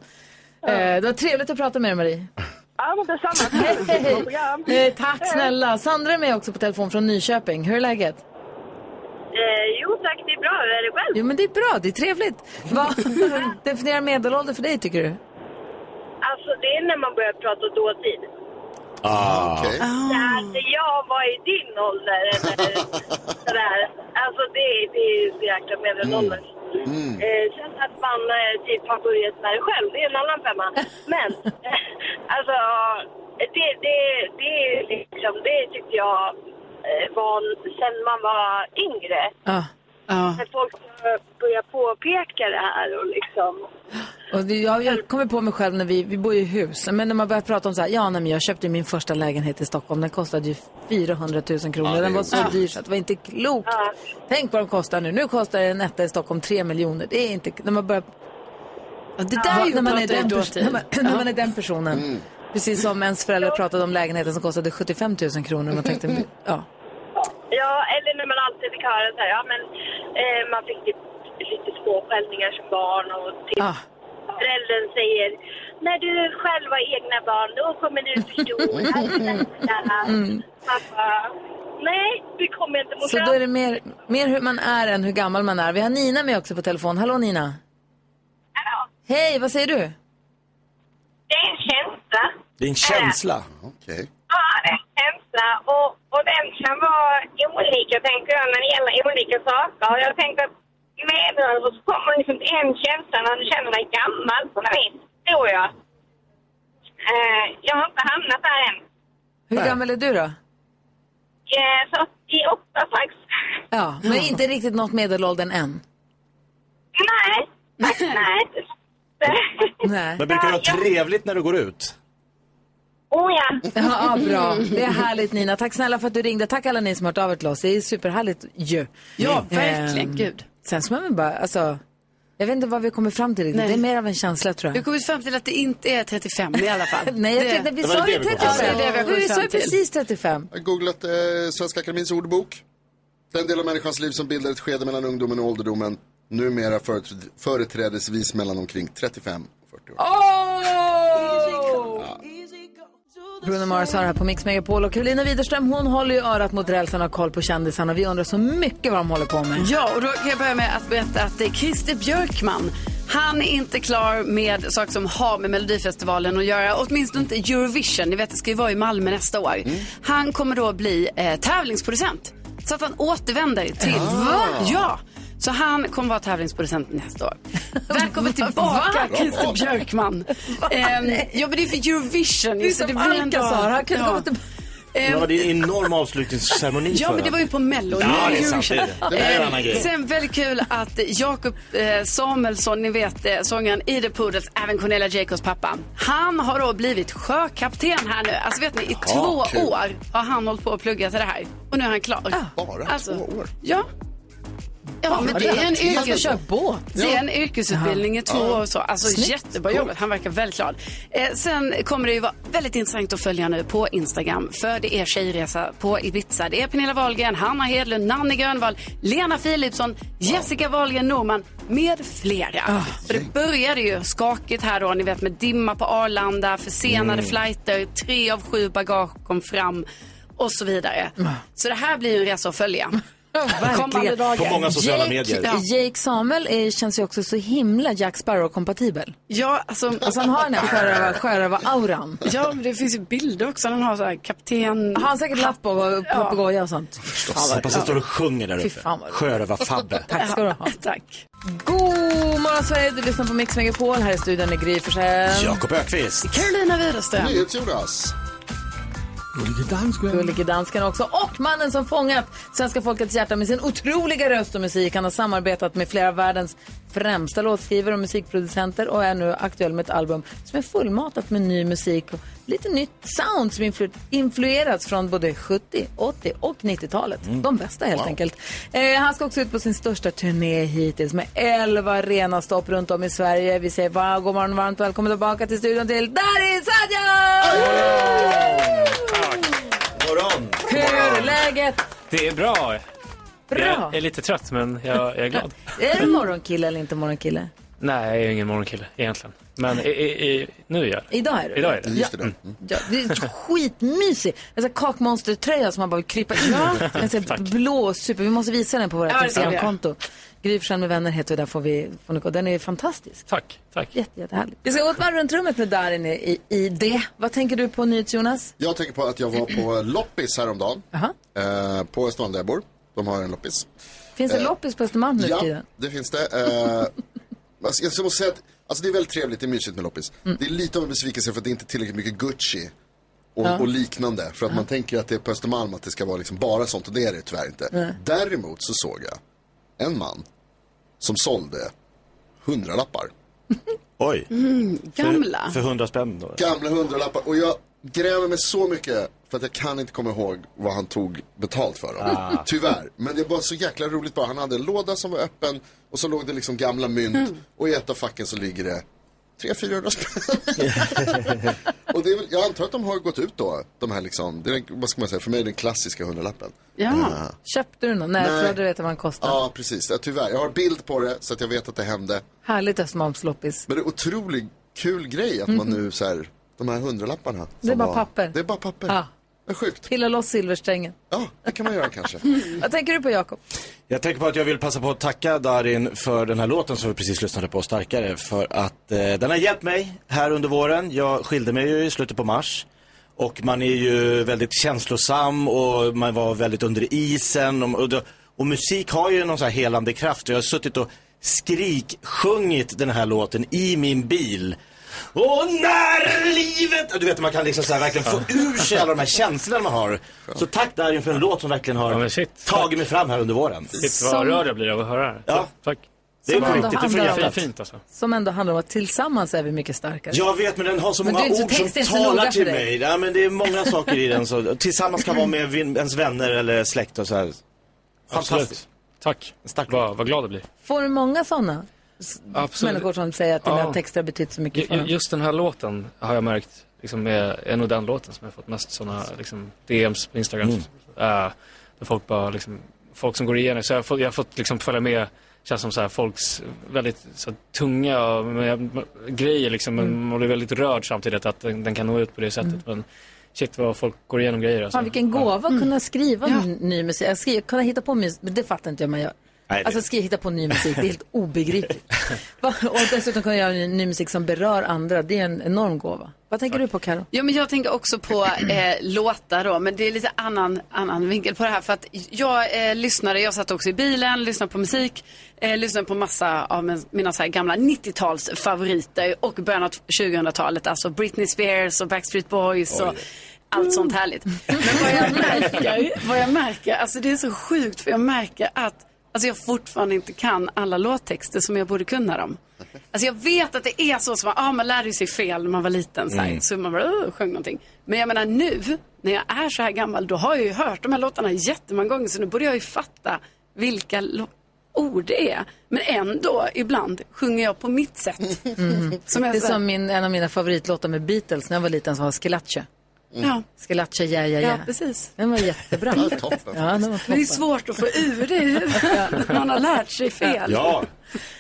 [SPEAKER 2] Eh, det var trevligt att prata med dig Marie.
[SPEAKER 11] Ja, men detsamma.
[SPEAKER 2] Hej, hej,
[SPEAKER 11] Bra program.
[SPEAKER 2] hej. Eh, Tack snälla. Sandra är med också på telefon från Nyköping. Hur är läget?
[SPEAKER 12] Eh, jo tack, det är bra. Hur är det själv?
[SPEAKER 2] Jo men det är bra, det är trevligt.
[SPEAKER 12] [laughs]
[SPEAKER 2] Vad definierar medelålder för dig tycker du?
[SPEAKER 12] Alltså det är när man börjar prata dåtid.
[SPEAKER 4] Ah.
[SPEAKER 12] Så Alltså jag var i din ålder eller sådär. Alltså det, det är ju så jäkla medelålders.
[SPEAKER 9] Mm.
[SPEAKER 12] Eh, sen att man eh, typ har börjat med det själv, det är en annan femma. Men [laughs] alltså det, det, det är ju liksom, det tyckte jag eh, var sen man var yngre.
[SPEAKER 2] Ja. Ja.
[SPEAKER 12] När folk börjar påpeka det här och liksom
[SPEAKER 2] Och det, jag, jag kommer på mig själv när vi, vi bor ju i hus. Men när man börjar prata om så här, ja nej, men jag köpte min första lägenhet i Stockholm. Den kostade ju 400 000 kronor.
[SPEAKER 9] Ja, det är
[SPEAKER 2] den var så
[SPEAKER 9] otroligt.
[SPEAKER 2] dyr så att det var inte klokt. Tänk vad de kostar nu. Nu kostar en etta i Stockholm 3 miljoner. Det är inte, när man börjar... Ja, det
[SPEAKER 5] där är ju
[SPEAKER 2] när man
[SPEAKER 5] att
[SPEAKER 2] är
[SPEAKER 5] prata i
[SPEAKER 2] den, pers-
[SPEAKER 5] dåtid.
[SPEAKER 2] när man, när man är den personen. Mm. Precis som ens föräldrar pratade om lägenheten som kostade 75 000 kronor. Man [laughs] tänkte, ja.
[SPEAKER 12] Ja, eller när man alltid fick höra så här, ja men eh, man fick typ lite småskällningar som barn och typ
[SPEAKER 2] Ah.
[SPEAKER 12] föräldern säger när du själv har egna barn då kommer du
[SPEAKER 13] [laughs]
[SPEAKER 12] förstå. Allt det där.
[SPEAKER 2] Mm.
[SPEAKER 12] Man bara, nej, det kommer jag inte
[SPEAKER 2] Så
[SPEAKER 12] morsan.
[SPEAKER 2] då är det mer, mer hur man är än hur gammal man är. Vi har Nina med också på telefon. Hallå Nina. Hej, vad säger du?
[SPEAKER 14] Det är en känsla.
[SPEAKER 4] Det är en känsla.
[SPEAKER 14] Ja, det är en känsla. Och, och den kan vara olika, tänker jag, när det gäller olika saker. Och Jag tänker att medelålders kommer liksom till en känsla när du känner dig gammal på något vis, tror jag. Eh, jag har inte hamnat där än.
[SPEAKER 2] Hur gammal är du då?
[SPEAKER 14] Eh, så 88 strax.
[SPEAKER 2] Ja, men inte riktigt nått medelåldern än.
[SPEAKER 14] Nej, nej.
[SPEAKER 2] Nej.
[SPEAKER 4] Men brukar du ha trevligt när du går ut?
[SPEAKER 14] Oh ja.
[SPEAKER 2] Ja, bra. Det är härligt Nina. Tack snälla för att du ringde. Tack alla ni som har hört av er till oss. Det är superhärligt ju.
[SPEAKER 5] Ja, verkligen.
[SPEAKER 2] Ehm,
[SPEAKER 5] Gud.
[SPEAKER 2] Sen så är man bara, alltså, jag vet inte vad vi kommer fram till riktigt.
[SPEAKER 5] Nej.
[SPEAKER 2] Det är mer av en känsla tror
[SPEAKER 5] Vi
[SPEAKER 2] jag.
[SPEAKER 5] har kommit fram till att det inte är 35 i alla fall.
[SPEAKER 2] [laughs] Nej, jag tänkte, vi sa ju 35.
[SPEAKER 5] Ja, det är det vi har
[SPEAKER 2] vi
[SPEAKER 5] kommit
[SPEAKER 2] sa
[SPEAKER 5] fram
[SPEAKER 2] ju
[SPEAKER 5] till.
[SPEAKER 2] precis 35.
[SPEAKER 3] Jag har googlat eh, Svenska Akademins ordbok. Den del av människans liv som bildar ett skede mellan ungdomen och ålderdomen. Numera företräd- företrädesvis mellan omkring 35 och 40 år.
[SPEAKER 2] Bruno Mars har här på Mix Megapol och Karolina Widerström hon håller ju örat mot rälsen och har koll på kändisarna. Vi undrar så mycket vad de håller på med.
[SPEAKER 5] Ja, och då kan jag börja med att berätta att det är Christer Björkman. Han är inte klar med saker som har med Melodifestivalen att göra, åtminstone inte Eurovision. Ni vet, det ska ju vara i Malmö nästa år.
[SPEAKER 9] Mm.
[SPEAKER 5] Han kommer då bli eh, tävlingsproducent, så att han återvänder till...
[SPEAKER 9] Ah.
[SPEAKER 5] Ja! Så han kommer vara tävlingsproducent nästa
[SPEAKER 9] [laughs]
[SPEAKER 5] år. Välkommen tillbaka,
[SPEAKER 9] Va?
[SPEAKER 5] Christer Björkman. Ehm, ja, men det är för Eurovision.
[SPEAKER 9] Det är
[SPEAKER 5] så
[SPEAKER 9] som
[SPEAKER 5] blir en
[SPEAKER 9] Alcazar,
[SPEAKER 5] dag-
[SPEAKER 9] han kunde komma tillbaka.
[SPEAKER 5] Ehm,
[SPEAKER 4] Ja, det är en enorm avslutningsceremoni
[SPEAKER 5] Ja,
[SPEAKER 4] för
[SPEAKER 5] men det
[SPEAKER 4] den.
[SPEAKER 5] var ju på Mello.
[SPEAKER 4] Ja,
[SPEAKER 5] nu
[SPEAKER 4] det är sant,
[SPEAKER 5] Eurovision.
[SPEAKER 4] det är det. Det där är en
[SPEAKER 5] Eh,
[SPEAKER 4] annan grej.
[SPEAKER 5] Sen väldigt kul att Jakob eh, Samuelsson, ni vet eh, sångaren i The Poodles, även Cornelia Jacobs pappa. Han har då blivit sjökapten här nu. Alltså vet ni, i
[SPEAKER 9] Jaha,
[SPEAKER 5] två
[SPEAKER 9] kul.
[SPEAKER 5] år har han hållit på att plugga till det här. Och nu är han klar.
[SPEAKER 3] Bara
[SPEAKER 5] Alltså,
[SPEAKER 3] två år?
[SPEAKER 5] Ja. Ja, men det är en
[SPEAKER 2] Man ska
[SPEAKER 5] yrkes...
[SPEAKER 2] köra båt.
[SPEAKER 5] Det är en yrkesutbildning i två
[SPEAKER 2] Ja.
[SPEAKER 5] år och så. Alltså
[SPEAKER 2] Snyggt.
[SPEAKER 5] jättebra
[SPEAKER 2] Coolt.
[SPEAKER 5] jobbat. Han verkar väldigt glad. Eh, sen kommer det ju vara väldigt intressant att följa nu på Instagram. För det är tjejresa på Ibiza. Det är Pernilla Wahlgren, Hanna Hedlund, Nanne Grönvall, Lena Philipsson, Jessica Wahlgren Norman med flera. För det började ju skakigt här då, ni vet med dimma på Arlanda, försenade
[SPEAKER 9] Mm.
[SPEAKER 5] flighter, tre av sju bagage kom fram och så vidare. Så det här blir ju en resa att följa. Kommande dagar.
[SPEAKER 4] På många sociala medier.
[SPEAKER 2] Jake, Jake Samuel är, känns ju också så himla Jack Sparrow-kompatibel.
[SPEAKER 5] Ja, alltså...
[SPEAKER 2] Alltså han har den här sjörövar- sjörövar-auran.
[SPEAKER 5] Ja, men det finns ju bilder också. Han har så här kapten...
[SPEAKER 2] Har han säkert lapp och papegoja och sånt?
[SPEAKER 4] Förstås. Hoppas han står och sjunger där
[SPEAKER 2] Fy
[SPEAKER 4] uppe.
[SPEAKER 2] fan vad roligt.
[SPEAKER 4] Sjörövar-Fabbe.
[SPEAKER 2] Tack ska du ha.
[SPEAKER 5] Tack.
[SPEAKER 2] God morgon Sverige, du lyssnar på Mix Megapol. Här i studion är Gry Forssell.
[SPEAKER 4] Jakob Ökvist.
[SPEAKER 5] Carolina Widerström.
[SPEAKER 3] NyhetsJonas.
[SPEAKER 7] Gullige dansken.
[SPEAKER 2] Gullige dansken också. Och mannen som fångat svenska folkets hjärta med sin otroliga röst och musik. Han har samarbetat med flera av världens främsta låtskrivare och musikproducenter och är nu aktuell med ett album som är fullmatat med ny musik och lite nytt sound som influ- influerats från både 70, 80 och 90-talet. De bästa helt enkelt. Eh, han ska också ut på sin största turné hittills med 11 rena stopp runt om i Sverige. Vi säger bara god morgon och varmt välkommen tillbaka till studion till Darin Sadia!
[SPEAKER 4] Morgon.
[SPEAKER 2] Hur är läget?
[SPEAKER 15] Det är bra.
[SPEAKER 2] Bra.
[SPEAKER 15] Jag är lite trött men jag, jag är
[SPEAKER 2] [laughs]
[SPEAKER 15] glad.
[SPEAKER 2] Är du morgonkille eller inte morgonkille?
[SPEAKER 15] Nej, jag är ju ingen morgonkille egentligen. Men i, i, i, nu är jag det.
[SPEAKER 2] Idag är du Mm.
[SPEAKER 15] Idag är det. Typ
[SPEAKER 2] Ja. Ja, det är skitmysig. En sån här kakmonstertröja som man bara vill krypa i. En sån här blå super. Vi måste visa den på vårt
[SPEAKER 15] Ja, det ska vi göra.
[SPEAKER 2] Instagramkonto. Gry Forssell med vänner heter och där får vi, får ni gå. Den är fantastisk.
[SPEAKER 15] Tack, tack.
[SPEAKER 2] Jätte, jättehärlig. Vi ska gå ett varv runt rummet med Darin i, i, i det. Vad tänker du på nyhets Jonas?
[SPEAKER 3] Jag tänker på att jag var på loppis häromdagen. Eh, på Östermalm där jag bor. De har en loppis.
[SPEAKER 2] Finns det
[SPEAKER 3] Eh,
[SPEAKER 2] loppis på Östermalm nu för
[SPEAKER 3] Ja,
[SPEAKER 2] tiden?
[SPEAKER 3] det finns det. Eh, alltså, jag måste säga att alltså, det är väldigt trevligt, det är mysigt med loppis.
[SPEAKER 2] Mm.
[SPEAKER 3] Det är lite av en besvikelse för att det inte är tillräckligt mycket Gucci och,
[SPEAKER 2] Ja.
[SPEAKER 3] och liknande. För att man tänker ju att det är på Östermalm att det ska vara liksom bara sånt och det är det tyvärr inte.
[SPEAKER 2] Nej.
[SPEAKER 3] Däremot så såg jag en man som sålde
[SPEAKER 2] [laughs]
[SPEAKER 3] hundralappar.
[SPEAKER 4] Oj. För, för 100 spänn då.
[SPEAKER 3] Gamla hundralappar. Och jag gräver mig så mycket för att jag kan inte komma ihåg vad han tog betalt för dem.
[SPEAKER 4] Ah.
[SPEAKER 3] Tyvärr. Men det var så jäkla roligt bara. Han hade en låda som var öppen och så låg det liksom gamla mynt och i ett av facken så ligger det
[SPEAKER 4] [laughs]
[SPEAKER 3] 300-400 spänn. och det är väl, jag antar att de har gått ut då, de här liksom, det är den, vad ska man säga, för mig är det den klassiska hundralappen. Eh,
[SPEAKER 2] Köpte du någon? Nej,
[SPEAKER 3] Nej.
[SPEAKER 2] för då hade du vetat vad den kostar.
[SPEAKER 3] Ja, precis. Ja, tyvärr. Jag har bild på det så att jag vet att det hände.
[SPEAKER 2] Härligt Östermalmsloppis.
[SPEAKER 3] Men det är otroligt kul grej att man nu så här, de här hundralapparna.
[SPEAKER 2] Mhm. Det är
[SPEAKER 3] som
[SPEAKER 2] bara
[SPEAKER 3] var-
[SPEAKER 2] papper.
[SPEAKER 3] Det är bara papper.
[SPEAKER 2] Ja.
[SPEAKER 3] Det är sjukt.
[SPEAKER 2] Pilla loss silversträngen.
[SPEAKER 3] Ja, det kan man göra kanske.
[SPEAKER 2] [laughs] Vad tänker du på Jakob?
[SPEAKER 4] Jag tänker på att jag vill passa på att tacka Darin för den här låten som vi precis lyssnade på, Starkare, för att eh, den har hjälpt mig här under våren. Jag skilde mig ju i slutet på mars och man är ju väldigt känslosam och man var väldigt under isen och, och, då- och musik har ju någon så här helande kraft och jag har suttit och skriksjungit den här låten i min bil. Och när livet... Du vet, man kan liksom så här verkligen få ur sig alla de här känslorna man har. Så tack Darin för en låt som verkligen har tagit mig fram här under våren.
[SPEAKER 15] Shit, vad rörd jag blir av att höra det.
[SPEAKER 4] Ja.
[SPEAKER 15] Tack.
[SPEAKER 4] Det är
[SPEAKER 2] Som ändå
[SPEAKER 4] på riktigt, det
[SPEAKER 2] handlar om-
[SPEAKER 4] fungerar
[SPEAKER 2] Som ändå handlar om att tillsammans är vi mycket starkare.
[SPEAKER 4] Jag vet, men den har så
[SPEAKER 2] Men
[SPEAKER 4] många
[SPEAKER 2] du är inte-
[SPEAKER 4] ord som
[SPEAKER 2] texten är inte så noga
[SPEAKER 4] talar
[SPEAKER 2] för
[SPEAKER 4] till
[SPEAKER 2] dig.
[SPEAKER 4] mig. Ja, men det är många saker i den. Så, tillsammans kan vara med vin- ens vänner eller släkt och så här. Fantastiskt.
[SPEAKER 15] Tack. Vad, vad glad jag blir.
[SPEAKER 2] Får du många sådana s-
[SPEAKER 15] Absolut.
[SPEAKER 2] människor som säger att den här
[SPEAKER 15] Ja.
[SPEAKER 2] texten har betytt så mycket
[SPEAKER 15] Ju-
[SPEAKER 2] för
[SPEAKER 15] ju-
[SPEAKER 2] dem?
[SPEAKER 15] Just den här låten har jag märkt liksom, är, är nog den låten som jag fått mest sådana liksom, DMs på Instagram.
[SPEAKER 16] Mm.
[SPEAKER 15] Eh, där folk bara liksom, folk som går igenom. Så jag har fått, jag har fått liksom, följa med, känns som så här, folks väldigt så här, tunga och, med, med, grejer liksom. Men
[SPEAKER 2] Mm.
[SPEAKER 15] man blir väldigt rörd samtidigt att den, den kan nå ut på det sättet.
[SPEAKER 2] Mm.
[SPEAKER 15] Men shit vad folk går igenom grejer alltså.
[SPEAKER 2] [laughs] Fan, vilken gåva
[SPEAKER 5] Mm.
[SPEAKER 2] att kunna skriva n- ny musik. Jag skriver, kunna hitta på musik, men det fattar inte jag man gör.
[SPEAKER 15] Nej, det-
[SPEAKER 2] Alltså skriva, hitta på ny musik, det är helt
[SPEAKER 15] [laughs]
[SPEAKER 2] obegripligt. Va- och dessutom kunna göra ny musik som berör andra, det är en enorm gåva. Vad tänker du på Karo?
[SPEAKER 5] Ja, men jag tänker också på eh, låtar då, men det är lite annan, annan vinkel på det här. För att jag eh, lyssnade, jag satt också i bilen, lyssnade på musik, eh, lyssnade på massa av min- mina så här gamla 90-tals favoriter och början av 2000-talet, alltså Britney Spears och Backstreet Boys och allt sånt härligt. märker, vad jag märker, alltså det är så sjukt för jag märker att alltså jag fortfarande inte kan alla låttexter som jag borde kunna dem. Alltså jag vet att det är så som, ah, man lärde ju sig fel när man var liten så, här,
[SPEAKER 17] Mm.
[SPEAKER 5] så man bara "Åh", sjöng någonting. Men jag menar nu, när jag är så här gammal, då har jag ju hört de här låtarna jättemånga gånger så nu borde jag ju fatta vilka lo- ord det är. Men ändå, ibland sjunger jag på mitt sätt. Som jag
[SPEAKER 2] Mm. det är
[SPEAKER 5] säger.
[SPEAKER 2] som min, en av mina favoritlåtar med Beatles när jag var liten som var Skelatche.
[SPEAKER 5] Mm. Ja.
[SPEAKER 2] Skelatche, ja, ja,
[SPEAKER 5] Ja,
[SPEAKER 2] ja.
[SPEAKER 5] precis.
[SPEAKER 2] Den var jättebra.
[SPEAKER 5] Ja,
[SPEAKER 2] toppen. Ja, den
[SPEAKER 5] Men
[SPEAKER 2] var
[SPEAKER 5] det är
[SPEAKER 2] toppen.
[SPEAKER 5] svårt att få ur det i huvudet när man har lärt sig fel.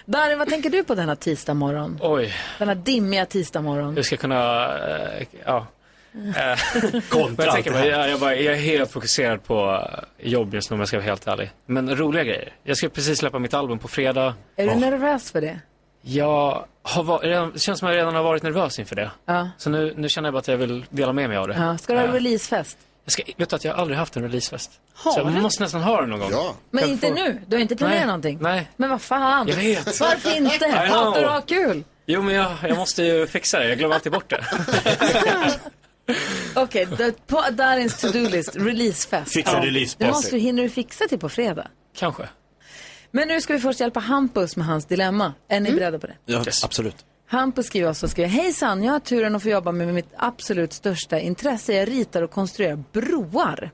[SPEAKER 2] Darin, vad tänker du på denna tisdag morgon?
[SPEAKER 15] Oj.
[SPEAKER 2] Denna dimmiga tisdag morgon.
[SPEAKER 15] Hur ska jag kunna... eh, ja. Eh, men jag,
[SPEAKER 2] allt
[SPEAKER 15] tänker
[SPEAKER 2] det
[SPEAKER 15] bara,
[SPEAKER 2] här.
[SPEAKER 15] jag, jag, bara, jag är helt fokuserad på eh, jobb just nu om jag ska vara helt ärlig. Men roliga grejer. Jag ska precis släppa mitt album på fredag.
[SPEAKER 2] Är du nervös för det?
[SPEAKER 15] Jag har va- redan, det känns som jag redan har varit nervös inför det.
[SPEAKER 2] Ja.
[SPEAKER 15] Så nu, nu känner jag bara att jag vill dela med mig av det.
[SPEAKER 2] ja. Ska du ha
[SPEAKER 15] Eh,
[SPEAKER 2] releasefest?
[SPEAKER 15] jag ska, vet du att jag aldrig haft en releasefest?
[SPEAKER 2] Har
[SPEAKER 15] så jag
[SPEAKER 2] du?
[SPEAKER 15] måste nästan ha den någon gång. Ja.
[SPEAKER 2] Men inte nu? Du har inte planerat
[SPEAKER 15] Nej,
[SPEAKER 2] någonting?
[SPEAKER 15] nej.
[SPEAKER 2] Men vad fan?
[SPEAKER 15] Jag vet.
[SPEAKER 2] Varför
[SPEAKER 15] [laughs]
[SPEAKER 2] inte?
[SPEAKER 15] I know.
[SPEAKER 2] Hatar du att ha kul?
[SPEAKER 15] Jo, men jag, jag måste ju fixa det. Jag glömmer alltid bort det.
[SPEAKER 2] Okej, okay, på Darins to-do-list, releasefest.
[SPEAKER 15] Fixa releasefest.
[SPEAKER 2] Det måste du, hinner du fixa till på fredag?
[SPEAKER 15] Kanske.
[SPEAKER 2] Men nu ska vi först hjälpa Hampus med hans dilemma. Är ni beredda på det?
[SPEAKER 4] [laughs] Ja, Absolut.
[SPEAKER 2] Hampus skriver oss och skriver, hejsan, jag har turen att få jobba med mitt absolut största intresse. Jag ritar och konstruerar broar.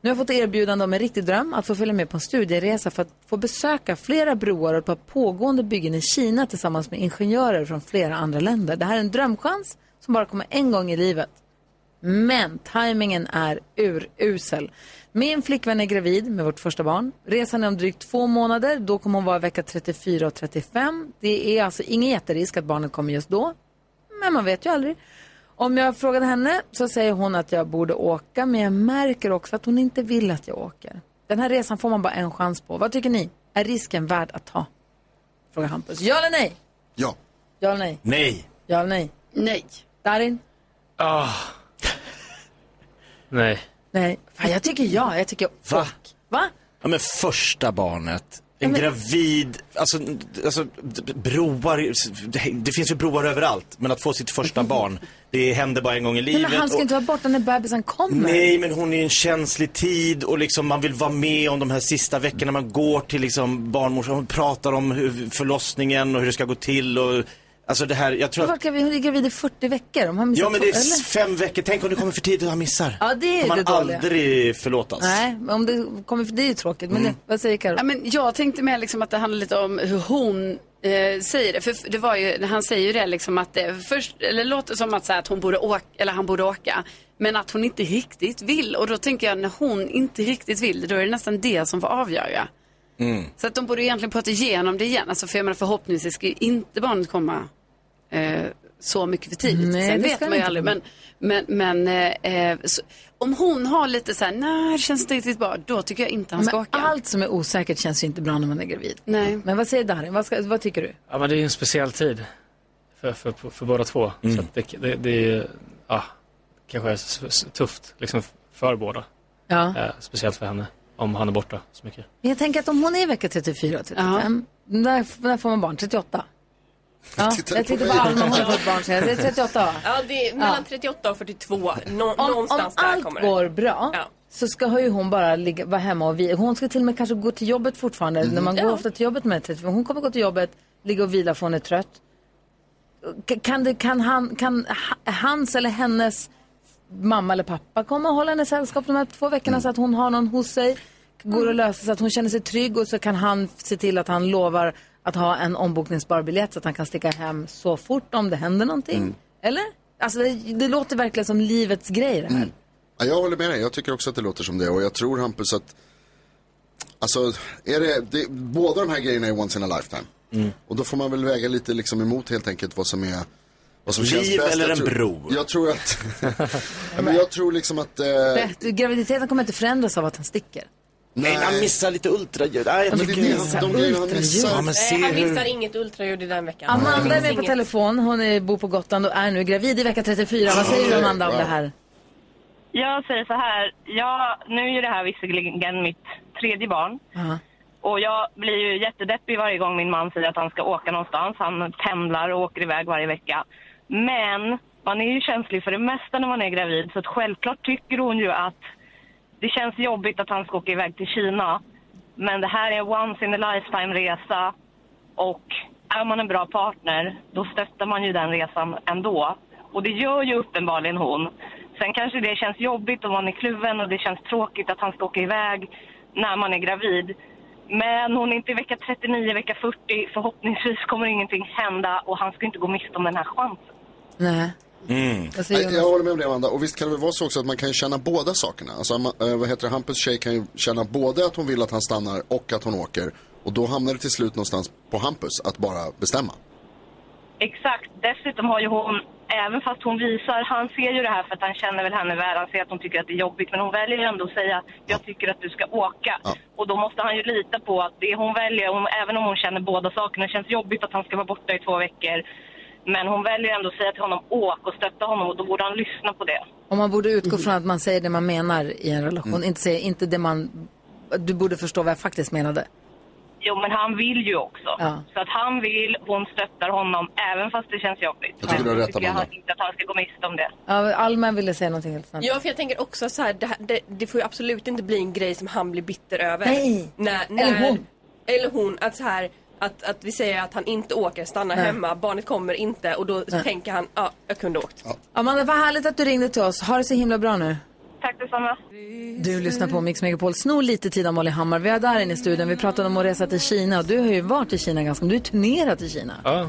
[SPEAKER 2] Nu har jag fått erbjudande om en riktig dröm, att få följa med på en studieresa för att få besöka flera broar och ett par pågående byggen i Kina tillsammans med ingenjörer från flera andra länder. Det här är en drömchans som bara kommer en gång i livet. Men tajmingen är urusel. Min flickvän är gravid med vårt första barn. Resan är om drygt två månader. Då kommer hon vara vecka 34 och 35. Det är alltså ingen jätterisk att barnet kommer just då. Men man vet ju aldrig. Om jag frågade henne så säger hon att jag borde åka. Men jag märker också att hon inte vill att jag åker. Den här resan får man bara en chans på. Vad tycker ni? Är risken värd att ta? Frågar Hampus. Ja eller nej?
[SPEAKER 3] Ja.
[SPEAKER 2] Ja eller nej?
[SPEAKER 4] Nej.
[SPEAKER 2] Ja eller nej?
[SPEAKER 5] Nej.
[SPEAKER 2] Darin?
[SPEAKER 15] Ah. Nej.
[SPEAKER 2] Nej. Fan, jag tycker ja. Jag tycker
[SPEAKER 4] Va?
[SPEAKER 2] Va?
[SPEAKER 4] Ja, men första barnet. En
[SPEAKER 2] Ja, men-
[SPEAKER 4] gravid, alltså, alltså d- d- broar, det finns ju broar överallt. Men att få sitt första barn, det händer bara en gång i
[SPEAKER 2] Nej,
[SPEAKER 4] livet.
[SPEAKER 2] men han ska
[SPEAKER 4] och-
[SPEAKER 2] inte vara borta när bebisen kommer.
[SPEAKER 4] Nej, men hon är i en känslig tid och liksom man vill vara med om de här sista veckorna. Man går till liksom barnmorskan och pratar om hur förlossningen och hur det ska gå till. Och, alltså det här, jag tror
[SPEAKER 2] Varför
[SPEAKER 4] att...
[SPEAKER 2] kan vi, hon är gravid i 40 veckor. Om han missar
[SPEAKER 4] Ja, men det
[SPEAKER 2] två- eller?
[SPEAKER 4] är fem veckor. Tänk om du kommer för tidigt och han missar.
[SPEAKER 2] Ja, det är
[SPEAKER 4] kan
[SPEAKER 2] det
[SPEAKER 4] man
[SPEAKER 2] dåliga.
[SPEAKER 4] aldrig förlåtas.
[SPEAKER 2] Nej, men om det kommer för det är ju tråkigt. Men
[SPEAKER 4] Mm.
[SPEAKER 2] det, vad säger Karo?
[SPEAKER 5] Ja, men jag tänkte mer liksom att det handlar lite om hur hon
[SPEAKER 4] Mm.
[SPEAKER 5] eh, säger det. För f- det var ju, han säger ju det liksom att det först, eller låter som att, så här, att hon borde åka, eller han borde åka. Men att hon inte riktigt vill. Och då tänker jag när hon inte riktigt vill, då är det nästan det som får avgöra. Så att de borde egentligen prata igenom det igen. Alltså, för jag menar, förhoppningsvis ska ju inte barnet komma eh, så mycket för tidigt.
[SPEAKER 2] Nej,
[SPEAKER 5] Sen
[SPEAKER 2] det
[SPEAKER 5] vet
[SPEAKER 2] ska
[SPEAKER 5] man
[SPEAKER 2] det
[SPEAKER 5] ju
[SPEAKER 2] inte
[SPEAKER 5] aldrig.
[SPEAKER 2] bli.
[SPEAKER 5] Men, men, men eh, eh, så, om hon har lite så här, nej det känns inte riktigt bra, då tycker jag inte han ska
[SPEAKER 2] Men
[SPEAKER 5] åka.
[SPEAKER 2] allt som är osäkert känns ju inte bra när man är gravid.
[SPEAKER 5] Nej.
[SPEAKER 2] Men vad säger Darin? Vad, ska, vad tycker du?
[SPEAKER 15] Ja, men det är ju en speciell tid för, för, för, för båda två.
[SPEAKER 4] Mm.
[SPEAKER 15] Så att det, det, det är ju, ja, kanske är s- s- tufft liksom för båda.
[SPEAKER 2] Ja.
[SPEAKER 15] Eh, speciellt för henne, om han är borta så mycket.
[SPEAKER 2] Men jag tänker att om hon är i vecka 34 och 35, där, där får man barn. 38.
[SPEAKER 4] [laughs]
[SPEAKER 2] Ja,
[SPEAKER 3] Tittar
[SPEAKER 2] jag
[SPEAKER 3] du på
[SPEAKER 2] tittar på
[SPEAKER 3] mig?
[SPEAKER 2] Alma, hon har fått barn säger jag. Det är 38 va?
[SPEAKER 16] Ja, det är mellan 38 och 42. Nå-
[SPEAKER 2] Om, om
[SPEAKER 16] någonstans där
[SPEAKER 2] allt
[SPEAKER 16] kommer det.
[SPEAKER 2] går bra så ska ju hon bara ligga, vara hemma och vila. Hon ska till och med kanske gå till jobbet fortfarande. När
[SPEAKER 16] Mm.
[SPEAKER 2] man går ofta till jobbet med 35. Hon kommer gå till jobbet, ligga och vila för hon är trött. K- Kan, det, kan, han, kan ha- hans eller hennes mamma eller pappa komma och hålla henne sällskap de här två veckorna
[SPEAKER 16] Mm.
[SPEAKER 2] så att hon har någon hos sig? Går att lösa så att hon känner sig trygg och så kan han se till att han lovar att ha en ombokningsbar biljett så att han kan sticka hem så fort om det händer någonting.
[SPEAKER 16] Mm.
[SPEAKER 2] Eller? Alltså det, det låter verkligen som livets grej
[SPEAKER 3] Mm.
[SPEAKER 2] det här.
[SPEAKER 3] Ja, jag håller med dig, jag tycker också att det låter som det och jag tror Hampus att Alltså, är det, det, båda de här grejerna är once in a lifetime.
[SPEAKER 4] Mm.
[SPEAKER 3] Och då får man väl väga lite liksom emot helt enkelt vad som är vad som känns
[SPEAKER 4] Liv
[SPEAKER 3] bäst.
[SPEAKER 4] eller
[SPEAKER 3] Jag
[SPEAKER 4] en
[SPEAKER 3] tror-
[SPEAKER 4] bro?
[SPEAKER 3] Jag tror att... [laughs] ja, men jag tror liksom att... Eh,
[SPEAKER 2] Bättre- Graviditeten kommer inte förändras av att han sticker.
[SPEAKER 3] nej,
[SPEAKER 4] han missar lite ultraljud. Nej,
[SPEAKER 2] Men
[SPEAKER 4] jag tycker
[SPEAKER 2] det är
[SPEAKER 4] att
[SPEAKER 2] så
[SPEAKER 4] de grejerna han
[SPEAKER 2] ultraljud.
[SPEAKER 4] missar. Ja, men se
[SPEAKER 16] Nej, han missar
[SPEAKER 4] hur...
[SPEAKER 16] inget ultraljud i den veckan.
[SPEAKER 2] Amanda är
[SPEAKER 16] Det
[SPEAKER 2] med på
[SPEAKER 16] finns inget.
[SPEAKER 2] telefon. Hon är, bor på Gotland och är nu gravid i vecka 34. Vad säger du Amanda om det här?
[SPEAKER 12] Jag säger så här, jag, nu är ju det här visserligen mitt tredje barn. Och jag blir ju jättedeppig varje gång min man säger att han ska åka någonstans. Han pendlar och åker iväg varje vecka. Men man är ju känslig för det mesta när man är gravid. Så att självklart tycker hon ju att det känns jobbigt att han ska åka iväg till Kina. Men det här är en once in a lifetime resa. Och är man en bra partner, då stöttar man ju den resan ändå. Och det gör ju uppenbarligen hon. Sen kanske det känns jobbigt om man är kluven och det känns tråkigt att han ska åka iväg när man är gravid. Men hon är inte i vecka 39, vecka 40. Förhoppningsvis kommer ingenting hända och han ska inte gå miste om den här chansen.
[SPEAKER 2] Nej.
[SPEAKER 3] Nej, jag håller med om det Amanda. Och visst kan det väl vara så också att man kan känna båda sakerna. Alltså, Ama- eh, vad heter det? Hampus tjej kan ju känna både att hon vill att han stannar och att hon åker. Och då hamnar det till slut någonstans på Hampus att bara bestämma.
[SPEAKER 12] Exakt. Dessutom har ju hon, även fast hon visar, han ser ju det här för att han känner väl henne väl, han ser att hon tycker att det är jobbigt, men hon väljer ju ändå att säga jag tycker att du ska åka. Och då måste han ju lita på att det hon väljer, hon, även om hon känner båda sakerna, det känns jobbigt att han ska vara borta i två veckor, men hon väljer ändå att säga till honom åk och stötta honom och då borde han lyssna på det.
[SPEAKER 2] Om man borde utgå från att man säger det man menar i en relation. Inte, säger, inte det man... Du borde förstå vad jag faktiskt menade.
[SPEAKER 12] Jo, men han vill ju också.
[SPEAKER 2] Ja.
[SPEAKER 12] Så att han vill, hon stöttar honom, även fast det känns jobbigt.
[SPEAKER 3] Jag tycker du har
[SPEAKER 12] Då
[SPEAKER 3] rätt,
[SPEAKER 12] jag
[SPEAKER 3] Amanda.
[SPEAKER 12] inte att han ska gå miste om det.
[SPEAKER 2] Ja, Alma ville säga någonting helt snabbt.
[SPEAKER 16] Ja, för jag tänker också så här, det, här det, det får ju absolut inte bli en grej som han blir bitter över.
[SPEAKER 2] Nej.
[SPEAKER 16] När, när,
[SPEAKER 2] Eller hon.
[SPEAKER 16] Eller hon, att så här, att, att vi säger att han inte åker, stannar
[SPEAKER 2] Nej.
[SPEAKER 16] hemma, barnet kommer inte och då tänker han, ja, jag kunde åkt.
[SPEAKER 2] Amanda, vad härligt att du ringde till oss. Ha det så himla bra nu.
[SPEAKER 12] Tack detsamma.
[SPEAKER 2] Du lyssnar på Mix Megapol. Snor lite tid av Molly Hammar. Vi är där inne i studion. Vi pratade om att resa till Kina. Du har ju varit i Kina ganska Du har ju turnerat i Kina.
[SPEAKER 15] Ja.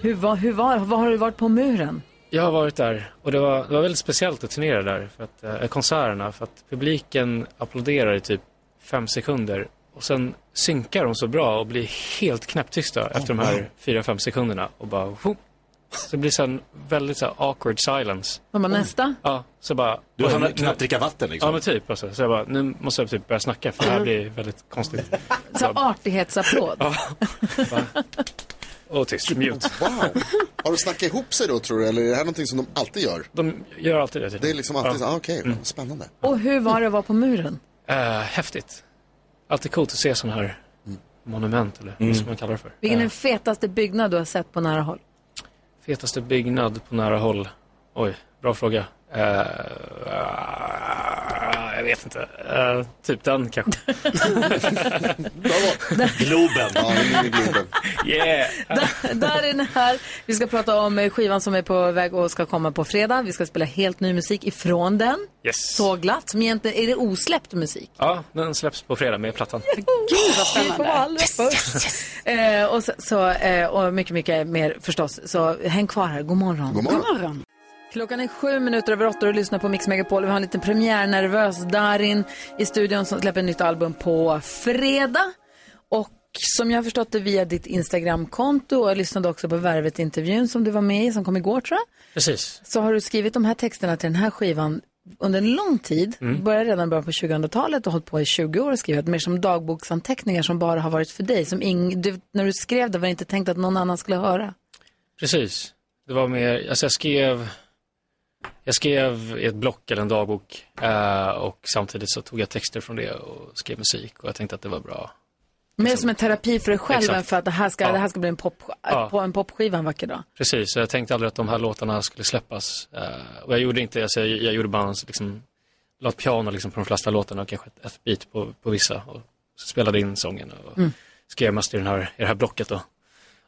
[SPEAKER 2] Hur, var, hur var, vad har du varit på muren?
[SPEAKER 15] Jag har varit där och det var, det var väldigt speciellt att turnera där, för att, eh, konserterna, för att publiken applåderar i typ fem sekunder och sen synkar de så bra och blir helt knäpptysta
[SPEAKER 4] Oh,
[SPEAKER 15] efter de
[SPEAKER 9] wow.
[SPEAKER 15] här fyra, fem sekunderna och bara whoop. Så det blir sen väldigt så här awkward silence.
[SPEAKER 2] Vad var nästa?
[SPEAKER 15] Ja, så bara...
[SPEAKER 4] Du har
[SPEAKER 15] oj,
[SPEAKER 4] som
[SPEAKER 15] nu-
[SPEAKER 4] knappt dricka vatten liksom.
[SPEAKER 15] Ja men typ alltså. Så jag bara, nu måste jag typ börja snacka för det här blir väldigt konstigt.
[SPEAKER 4] [laughs]
[SPEAKER 2] Så artighetsapplåd.
[SPEAKER 15] Ja. Bara- Och tyst, mute.
[SPEAKER 3] Wow! Har de snackat ihop sig då tror du? Eller är det här någonting som de alltid gör?
[SPEAKER 15] De gör alltid det. typ. Mm.
[SPEAKER 3] Det är liksom alltid så, ah, okej, spännande.
[SPEAKER 2] Och hur var det att vara på muren?
[SPEAKER 15] Eh, häftigt. Alltid coolt att se sådana här
[SPEAKER 4] Mm.
[SPEAKER 15] monument eller vad som man kallar det för.
[SPEAKER 2] Vilken är den fetaste byggnad du har sett på nära håll? [laughs]
[SPEAKER 15] Fetaste byggnad på nära håll? Oj, bra fråga. Eh, ah, jag vet inte. Eh, typ den kanske.
[SPEAKER 4] Globen.
[SPEAKER 3] Ja, Globen.
[SPEAKER 15] Yeah.
[SPEAKER 2] Där, där är den här. Vi ska prata om eh, skivan som är på väg och ska komma på fredag. Vi ska spela helt ny musik ifrån den.
[SPEAKER 15] Yes.
[SPEAKER 2] Så glatt. Som egentligen är det osläppt musik.
[SPEAKER 15] Ja, den släpps på fredag med plattan.
[SPEAKER 2] Gud vad spännande. Eh, och, så, så, eh, och mycket, mycket mer förstås. Så häng kvar här. God morgon.
[SPEAKER 3] God morgon.
[SPEAKER 2] Klockan är sju minuter över åtta och du lyssnar på Mix Megapol. Vi har en liten premiärnervös Darin i studion som släpper ett nytt album på fredag. Och som jag har förstått det via ditt Instagramkonto och jag lyssnade också på Värvet-intervjun som du var med i, som kom igår tror jag
[SPEAKER 15] Precis.
[SPEAKER 2] så har du skrivit de här texterna till den här skivan under en lång tid. Mm. Började redan i början på 2000-talet och hållit på i 20 år och skrivit mer som dagboksanteckningar som bara har varit för dig. Som ing- du, när du skrev det var det inte tänkt att någon annan skulle höra.
[SPEAKER 15] Precis. Det var mer, alltså jag skrev, jag skrev i ett block eller en dagbok eh, och samtidigt så tog jag texter från det och skrev musik och jag tänkte att det var bra
[SPEAKER 2] Mer som en terapi för dig själv
[SPEAKER 15] Exakt.
[SPEAKER 2] än för att det här ska,
[SPEAKER 15] Ja.
[SPEAKER 2] det här ska bli en, pop, eh,
[SPEAKER 15] Ja.
[SPEAKER 2] på en popskiva en vacker dag.
[SPEAKER 15] Precis, så jag tänkte aldrig att de här låtarna skulle släppas. Eh, och jag gjorde inte, alltså, jag, jag gjorde bara en, liksom, la ett piano liksom, på de flesta låtarna och kanske ett, ett beat på, på vissa. Och så spelade in sången och
[SPEAKER 9] Mm.
[SPEAKER 15] skrev mest i, den här, i det här blocket då.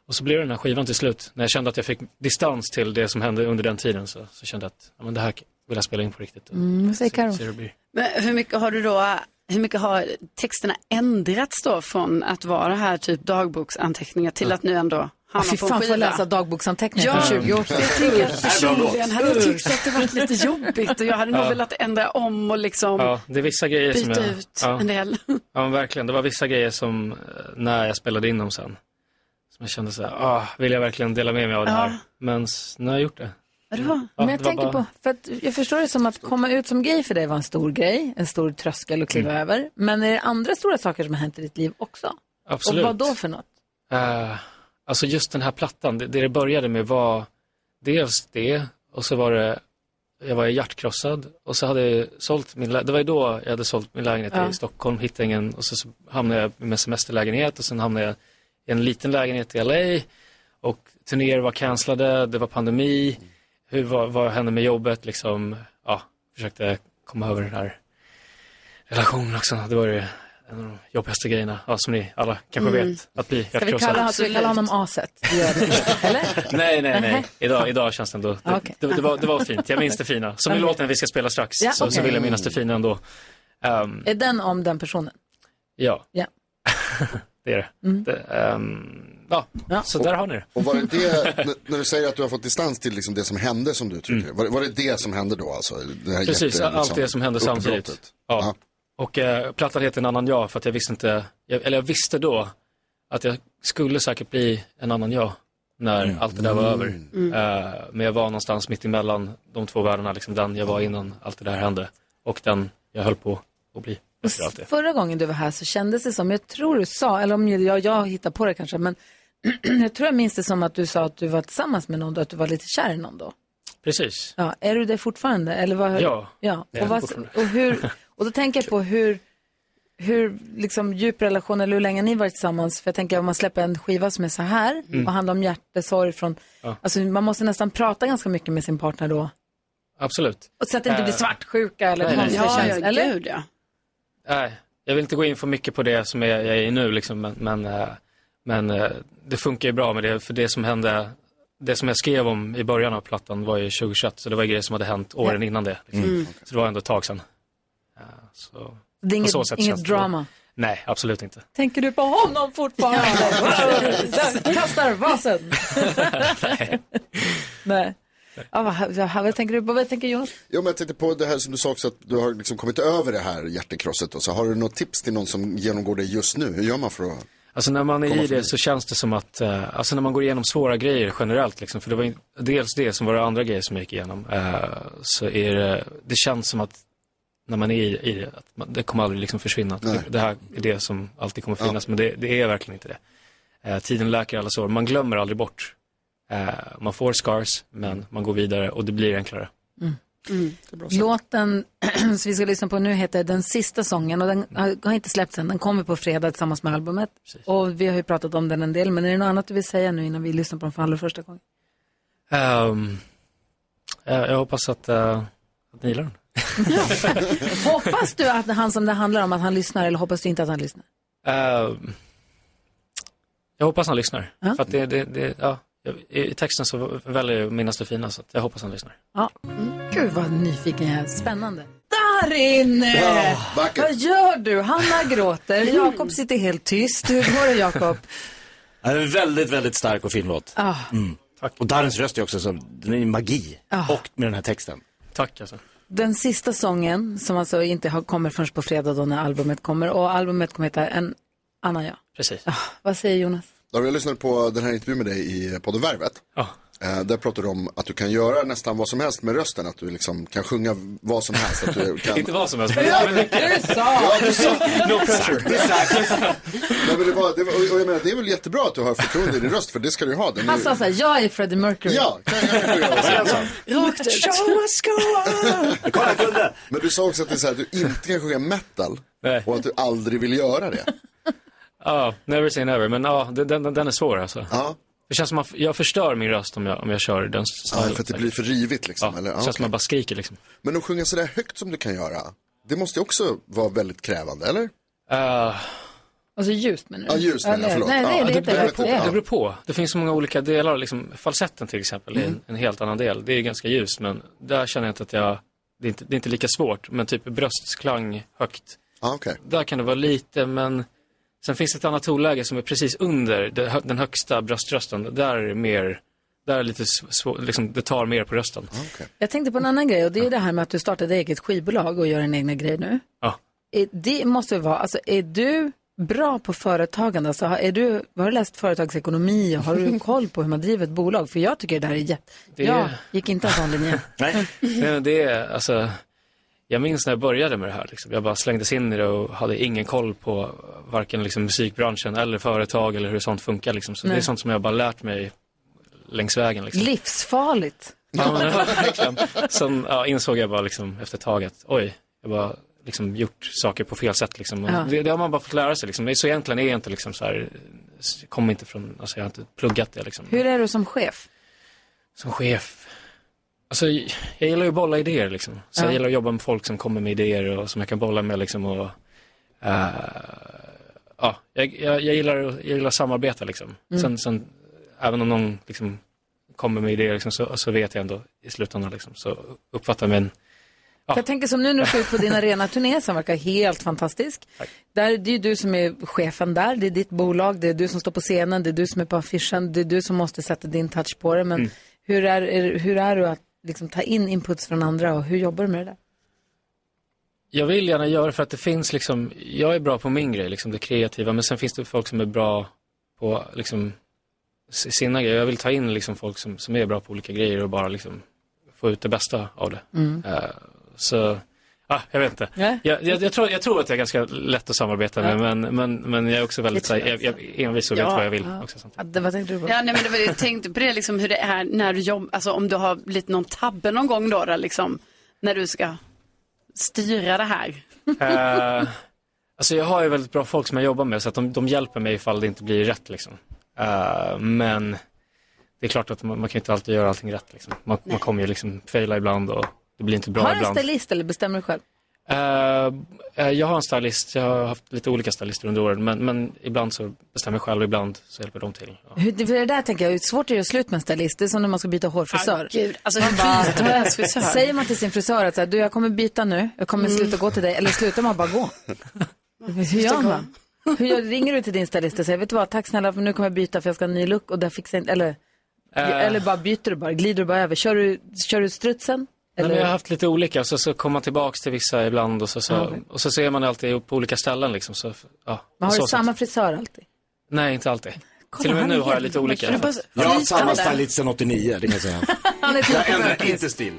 [SPEAKER 15] Och så blev det den här skivan till slut. När jag kände att jag fick distans till det som hände under den tiden så, så kände jag att ja, men det här vill jag spela in på riktigt.
[SPEAKER 2] Mm, vad säger Karo?
[SPEAKER 15] Så det blir.
[SPEAKER 5] Men hur mycket har du då, hur mycket har texterna ändrats då från att vara här typ dagboksanteckningar till att nu ändå
[SPEAKER 2] Ja,
[SPEAKER 5] hamna
[SPEAKER 2] fy
[SPEAKER 5] på en
[SPEAKER 2] fan, får
[SPEAKER 5] skiva?
[SPEAKER 2] jag läsa dagboksanteckningar
[SPEAKER 5] Ja,
[SPEAKER 2] från 20 år sedan?
[SPEAKER 5] jag tänker
[SPEAKER 15] Det
[SPEAKER 5] att
[SPEAKER 15] är bra låt.
[SPEAKER 5] personligen hade jag tyckt att det varit lite jobbigt och jag hade nog
[SPEAKER 15] Ja.
[SPEAKER 5] velat ändra om och liksom
[SPEAKER 15] Ja, det är vissa grejer som
[SPEAKER 5] byta
[SPEAKER 15] jag...
[SPEAKER 5] ut
[SPEAKER 15] ja.
[SPEAKER 5] en del.
[SPEAKER 15] [laughs] Ja, men verkligen. Det var vissa grejer som, eh, när jag spelade in dem sen, som jag kände så här, ah, vill jag verkligen dela med mig av det här?
[SPEAKER 2] Ja.
[SPEAKER 15] Men s- nu har jag gjort det. Ja,
[SPEAKER 2] Ja, men jag
[SPEAKER 15] det var
[SPEAKER 2] tänker
[SPEAKER 15] bara-
[SPEAKER 2] på, för att jag förstår det som att komma ut som gay för dig var en stor grej, en stor tröskel att kliva
[SPEAKER 15] Mm.
[SPEAKER 2] över. Men är det andra stora saker som har hänt i ditt liv också?
[SPEAKER 15] Absolut.
[SPEAKER 2] Och vad då för något?
[SPEAKER 15] Eh, alltså just den här plattan, det, det det började med var dels det, och så var det, jag var hjärtkrossad och så hade jag sålt min, lä- det var ju då jag hade sålt min lägenhet
[SPEAKER 9] Ja.
[SPEAKER 15] i Stockholm, hittade ingen, och så, så hamnade jag med semesterlägenhet och sen hamnade jag i en liten lägenhet i LA och turnéer var cancellade, det var pandemi, hur, vad, vad hände med jobbet liksom, ja, försökte komma över den här relationen också, det var ju en av de jobbigaste grejerna, ja, som ni alla kanske
[SPEAKER 2] Mm.
[SPEAKER 15] vet, att bli
[SPEAKER 2] Ska vi
[SPEAKER 15] hjärtkrossad.
[SPEAKER 2] kalla, ska vi kalla honom aset? Vi gör det. Eller?
[SPEAKER 15] [laughs] Nej, nej,
[SPEAKER 2] Nähä. Ah,
[SPEAKER 15] nej. Idag, idag känns det ändå. Det,
[SPEAKER 2] Okej.
[SPEAKER 15] det, det, var, det var fint. Jag minns det fina. Som i
[SPEAKER 2] Okej.
[SPEAKER 15] låten vi ska spela strax
[SPEAKER 2] Ja,
[SPEAKER 15] så, så
[SPEAKER 2] okej.
[SPEAKER 15] vill jag minnas det fina ändå. Ehm,
[SPEAKER 2] Är den om den personen?
[SPEAKER 15] ja.
[SPEAKER 2] Ja.
[SPEAKER 15] det är det.
[SPEAKER 2] Mm.
[SPEAKER 15] det ehm, ja. så där har ni det.
[SPEAKER 3] Och var det det, n- när du säger att du har fått distans till liksom det som hände som du uttrycker det, var, det- var det det som hände då alltså? Det här
[SPEAKER 15] Mm. Precis,
[SPEAKER 3] jätte- liksom
[SPEAKER 15] allt det som hände samtidigt.
[SPEAKER 3] uppbrottet?
[SPEAKER 15] Ja. Och eh, plattan heter En annan jag för att jag visste inte, jag, eller jag visste då att jag skulle säkert bli en annan jag när allt det där var över.
[SPEAKER 9] Mm.
[SPEAKER 15] Eh, men jag var någonstans mitt emellan de två världarna, liksom den jag var innan allt det där hände och den jag höll på att bli efter allt det.
[SPEAKER 2] Förra gången du var här så kändes det som, jag tror du sa, eller om jag, jag hittar på det kanske, men [clears throat] jag tror jag minns det som att du sa att du var tillsammans med någon då, att du var lite kär i någon då.
[SPEAKER 15] Precis.
[SPEAKER 2] Ja, är du det fortfarande? Eller vad,
[SPEAKER 15] Ja,
[SPEAKER 2] ja.
[SPEAKER 15] det är
[SPEAKER 2] Och,
[SPEAKER 15] jag
[SPEAKER 2] vad,
[SPEAKER 15] fortfarande.
[SPEAKER 2] och, hur, och då tänker jag på hur, hur liksom djup relation eller hur länge ni varit tillsammans. För jag tänker om man släpper en skiva som är så här
[SPEAKER 15] Mm.
[SPEAKER 2] och handlar om hjärtesorg från,
[SPEAKER 15] Ja.
[SPEAKER 2] alltså man måste nästan prata ganska mycket med sin partner då.
[SPEAKER 15] [laughs] Absolut.
[SPEAKER 2] Och så att det inte blir
[SPEAKER 15] Eh,
[SPEAKER 2] svartsjuka eller
[SPEAKER 15] nej, nej.
[SPEAKER 2] konstiga
[SPEAKER 15] Ja, ja,
[SPEAKER 2] känslor, eller?
[SPEAKER 5] Gud, ja.
[SPEAKER 15] Nej, jag vill inte gå in för mycket på det som jag, jag är i nu, liksom, men, men, eh, men eh, det funkar ju bra med det. För det som hände, det som jag skrev om i början av plattan var ju 2021, så det var ju grejer som hade hänt åren
[SPEAKER 2] Ja.
[SPEAKER 15] innan det. Liksom.
[SPEAKER 2] Mm.
[SPEAKER 15] Så det var ändå ett tag sedan. Eh, Så,
[SPEAKER 2] Det är
[SPEAKER 15] på
[SPEAKER 2] inget,
[SPEAKER 15] så sätt känns
[SPEAKER 2] inget
[SPEAKER 15] det bra.
[SPEAKER 2] drama.
[SPEAKER 15] Nej, absolut
[SPEAKER 2] [laughs]
[SPEAKER 15] inte.
[SPEAKER 2] Tänker du på honom fortfarande? [laughs] Där, Kastar vasen. Nej. Ja, vad, vad, vad tänker du på? Vad tänker Jonas?
[SPEAKER 3] Jo, men jag tänkte på det här som du sa också att du har liksom kommit över det här hjärtekrosset. Och så har du något tips till någon som genomgår det just nu? Hur gör man för att...
[SPEAKER 15] Alltså när man är
[SPEAKER 3] Komma
[SPEAKER 15] i det så känns det som att, eh, alltså när man går igenom svåra grejer generellt liksom, för det var ju dels det som var det andra grejer som jag gick igenom, eh, så är det, det känns som att när man är i, i det, att man, det kommer aldrig liksom försvinna.
[SPEAKER 9] Nej.
[SPEAKER 15] Det, det här är det som alltid kommer finnas, men det, det är verkligen inte det. Eh, tiden läker alla sår, man glömmer aldrig bort. Eh, man får scars, men man går vidare och det blir enklare.
[SPEAKER 2] Mm. Låten [clears throat] som vi ska lyssna på nu heter Den sista sången och den har- har inte släppts än. Den kommer på fredag tillsammans med albumet. Och vi har ju pratat om den en del, men är det något annat du vill säga nu innan vi lyssnar på den för allra första gången?
[SPEAKER 15] Ehm, eh, jag hoppas att, eh, att ni gillar den. [laughs]
[SPEAKER 2] hoppas du att han som det handlar om, att han lyssnar eller hoppas du inte att han lyssnar?
[SPEAKER 15] Eh, jag hoppas han lyssnar. För att det, det, det, ja, i i texten så väljer jag att minnas det fina, så att jag hoppas han lyssnar.
[SPEAKER 2] Ja. Mm. Gud vad nyfiken jag är. Spännande. Där inne!
[SPEAKER 15] Ja,
[SPEAKER 2] vad gör du? Hanna gråter, Jakob sitter helt tyst. Hur går det Jakob?
[SPEAKER 17] Ja, det är en väldigt, väldigt stark och fin låt.
[SPEAKER 2] Ah.
[SPEAKER 17] Mm. Och Darrens röst är också som, den är ju magi. Och med den här texten.
[SPEAKER 15] Tack alltså.
[SPEAKER 2] Den sista sången som alltså inte har, kommer förrän på fredag då när albumet kommer och albumet kommer heta En annan jag. Ah,
[SPEAKER 15] Precis.
[SPEAKER 2] Vad säger Jonas?
[SPEAKER 3] David, jag lyssnade på den här intervjun med dig i podden Värvet. Eh, Där pratade du om att du kan göra nästan vad som helst med rösten, att du liksom kan sjunga vad som helst.
[SPEAKER 15] [laughs]
[SPEAKER 3] Att du kan...
[SPEAKER 15] Inte vad som helst,
[SPEAKER 9] Ja,
[SPEAKER 15] men mycket.
[SPEAKER 9] du sa!
[SPEAKER 3] Ja, du sa!
[SPEAKER 9] No pressure.
[SPEAKER 3] Exakt, exakt. Nej, men det, var, det, var, och jag menar, det är väl jättebra att du har förtroende i din röst, för det ska du ha. Den är...
[SPEAKER 2] Han sa så här, jag är Freddie Mercury.
[SPEAKER 3] Ja,
[SPEAKER 2] [laughs] Rakt ut.
[SPEAKER 3] Men du sa också att, det är så här, att du inte kan sjunga metal och att du aldrig vill göra det.
[SPEAKER 15] Ja, never say never. Men ja, den, den, den är svår alltså.
[SPEAKER 3] Ja.
[SPEAKER 15] Det känns som att jag förstör min röst om jag, om jag kör den stilen.
[SPEAKER 3] för att det blir för rivigt liksom,
[SPEAKER 15] Ja,
[SPEAKER 3] eller? Ja,
[SPEAKER 15] det känns
[SPEAKER 3] okej.
[SPEAKER 15] som att man bara skriker liksom.
[SPEAKER 3] Men att sjunga sådär högt som du kan göra, det måste ju också vara väldigt krävande, eller?
[SPEAKER 15] Uh,
[SPEAKER 2] Alltså ljust menar du?
[SPEAKER 3] Ja, ljust menar jag,
[SPEAKER 2] Eller-
[SPEAKER 3] förlåt.
[SPEAKER 2] Nej, nej,
[SPEAKER 3] Ja,
[SPEAKER 2] det
[SPEAKER 3] det
[SPEAKER 2] är inte
[SPEAKER 3] beror
[SPEAKER 2] rätt.
[SPEAKER 3] på.
[SPEAKER 2] Det är-
[SPEAKER 15] Det beror på. Det finns så många olika delar. Liksom, falsetten till exempel
[SPEAKER 3] Mm.
[SPEAKER 15] är en, en helt annan del. Det är ju ganska ljust, men där känner jag inte att jag... Det är inte, det är inte lika svårt, men typ bröstklang högt. Där kan det vara lite, men sen finns det ett annat tonläge som är precis under det, hö- den högsta bröströsten. Där är det mer... Där är det lite sv- svår, liksom, det tar mer på rösten.
[SPEAKER 2] Jag tänkte på en annan grej och det är ju det här med att du startade eget skivbolag och gör en egna grej nu.
[SPEAKER 15] Ja.
[SPEAKER 2] Är- Det måste ju vara, alltså är du bra på företagande? Alltså, har- är du, har du läst företagsekonomi och har
[SPEAKER 15] [laughs]
[SPEAKER 2] du koll på hur man driver ett bolag? För jag tycker det här är jätte...
[SPEAKER 15] Det-
[SPEAKER 2] Jag gick inte en
[SPEAKER 15] [laughs]
[SPEAKER 2] sån linje.
[SPEAKER 15] Nej, Nej men det är alltså, jag minns när jag började med det här. Liksom. Jag bara slängdes in i det och hade ingen koll på varken liksom, musikbranschen eller företag eller hur sånt funkar. Liksom. Så
[SPEAKER 2] Nej.
[SPEAKER 15] det är sånt som jag bara lärt mig längs vägen. Liksom.
[SPEAKER 2] Livsfarligt.
[SPEAKER 15] Ja, men, [laughs] verkligen. Sen ja, insåg jag bara liksom, efter ett tag att oj, jag bara liksom, gjort saker på fel sätt. Liksom. Och
[SPEAKER 2] Ja.
[SPEAKER 15] Det, det har man bara fått lära sig. Liksom. Så egentligen är jag inte liksom, så här, s- kom inte från, alltså, jag har inte pluggat det. Liksom.
[SPEAKER 2] Hur är du som chef?
[SPEAKER 15] Som chef? Alltså, jag gillar ju att bolla idéer liksom. Så
[SPEAKER 2] Ja.
[SPEAKER 15] jag gillar att jobba med folk som kommer med idéer och som jag kan bolla med liksom och... eh, ja, jag, jag, jag, gillar, jag gillar att samarbeta liksom.
[SPEAKER 2] Mm.
[SPEAKER 15] Sen, sen, även om någon liksom kommer med idéer liksom, så, så vet jag ändå i slutändan liksom. Så uppfattar jag min... Ja.
[SPEAKER 2] För Jag tänker som nu när du ska ut på din arenaturné som verkar helt fantastisk. Där, det är ju du som är chefen där, det är ditt bolag, det är du som står på scenen, det är du som är på affischen, det är du som måste sätta din touch på det. Men
[SPEAKER 15] Mm.
[SPEAKER 2] hur, är, är, hur är du att liksom, ta in inputs från andra och hur jobbar du med det där?
[SPEAKER 15] Jag vill gärna göra det för att det finns liksom, jag är bra på min grej, liksom det kreativa, men sen finns det folk som är bra på liksom s- sina grejer. Jag vill ta in liksom folk som, som är bra på olika grejer och bara liksom få ut det bästa av det.
[SPEAKER 2] Mm.
[SPEAKER 15] Eh, så, ah, jag vet inte.
[SPEAKER 2] Nej.
[SPEAKER 15] Jag, jag, jag, tror, jag tror att jag är ganska lätt att samarbeta med, men, men, men jag är också väldigt så här, jag, jag, envis och vet
[SPEAKER 5] Ja.
[SPEAKER 15] vad jag vill.
[SPEAKER 5] Ja.
[SPEAKER 15] Också, sånt.
[SPEAKER 2] Ja, det, vad tänkte du på?
[SPEAKER 5] Ja, nej, men det var det jag tänkte på det, liksom, hur det är när du jobbar, alltså om du har blivit någon tabbe någon gång då, då liksom, när du ska styra det här.
[SPEAKER 15] Eh, alltså jag har ju väldigt bra folk som jag jobbar med så att de, de hjälper mig ifall det inte blir rätt liksom. Eh, men det är klart att man, man kan ju inte alltid göra allting rätt liksom. Man, man kommer ju liksom faila ibland och det blir inte bra
[SPEAKER 2] Har du en
[SPEAKER 15] ibland.
[SPEAKER 2] stylist eller bestämmer du själv?
[SPEAKER 15] Eh, eh, jag har en stylist, jag har haft lite olika stylister under åren men, men ibland så bestämmer jag själv, ibland så hjälper de till.
[SPEAKER 2] Hur, det, för det där tänker jag, det är svårt att göra slut med en stylist. Det är som när man ska byta hårfrisör.
[SPEAKER 5] gud, alltså,
[SPEAKER 2] Man
[SPEAKER 5] hur
[SPEAKER 2] bara-
[SPEAKER 5] byter
[SPEAKER 2] [laughs]
[SPEAKER 5] man ens frisör?
[SPEAKER 2] Säger man till sin frisör att så här, du, jag kommer byta nu, jag kommer
[SPEAKER 5] Mm.
[SPEAKER 2] sluta gå till dig, eller slutar man
[SPEAKER 5] [laughs]
[SPEAKER 2] bara gå? Hur gör man? Hur gör, ringer du till din stylist och säger, vet du vad, tack snälla för nu kommer jag byta för jag ska ha en ny look och där fixar jag inte, eller,
[SPEAKER 15] Eh.
[SPEAKER 2] eller bara byter du bara, glider du bara över, kör du, kör du strutsen?
[SPEAKER 15] Nej,
[SPEAKER 2] Eller?
[SPEAKER 15] men jag har haft lite olika, så, så kommer man tillbaks till vissa ibland och så, så,
[SPEAKER 2] Ja, okej.
[SPEAKER 15] och så ser man alltid på olika ställen liksom. Så, ja,
[SPEAKER 2] Men har
[SPEAKER 15] så
[SPEAKER 2] du
[SPEAKER 15] sätt.
[SPEAKER 2] samma frisör alltid?
[SPEAKER 15] Nej, inte alltid.
[SPEAKER 2] Kolla,
[SPEAKER 15] Till och med
[SPEAKER 2] han
[SPEAKER 15] nu
[SPEAKER 2] är
[SPEAKER 15] har jag
[SPEAKER 2] helt-
[SPEAKER 15] lite olika.
[SPEAKER 2] Kan du bara
[SPEAKER 17] Jag har
[SPEAKER 2] flytande?
[SPEAKER 17] haft samma stylist sedan 89, det kan jag
[SPEAKER 4] [laughs]
[SPEAKER 17] säga.
[SPEAKER 2] Han är
[SPEAKER 17] Jag
[SPEAKER 2] tillbaka på
[SPEAKER 17] ändrar
[SPEAKER 2] öppis.
[SPEAKER 17] inte stil.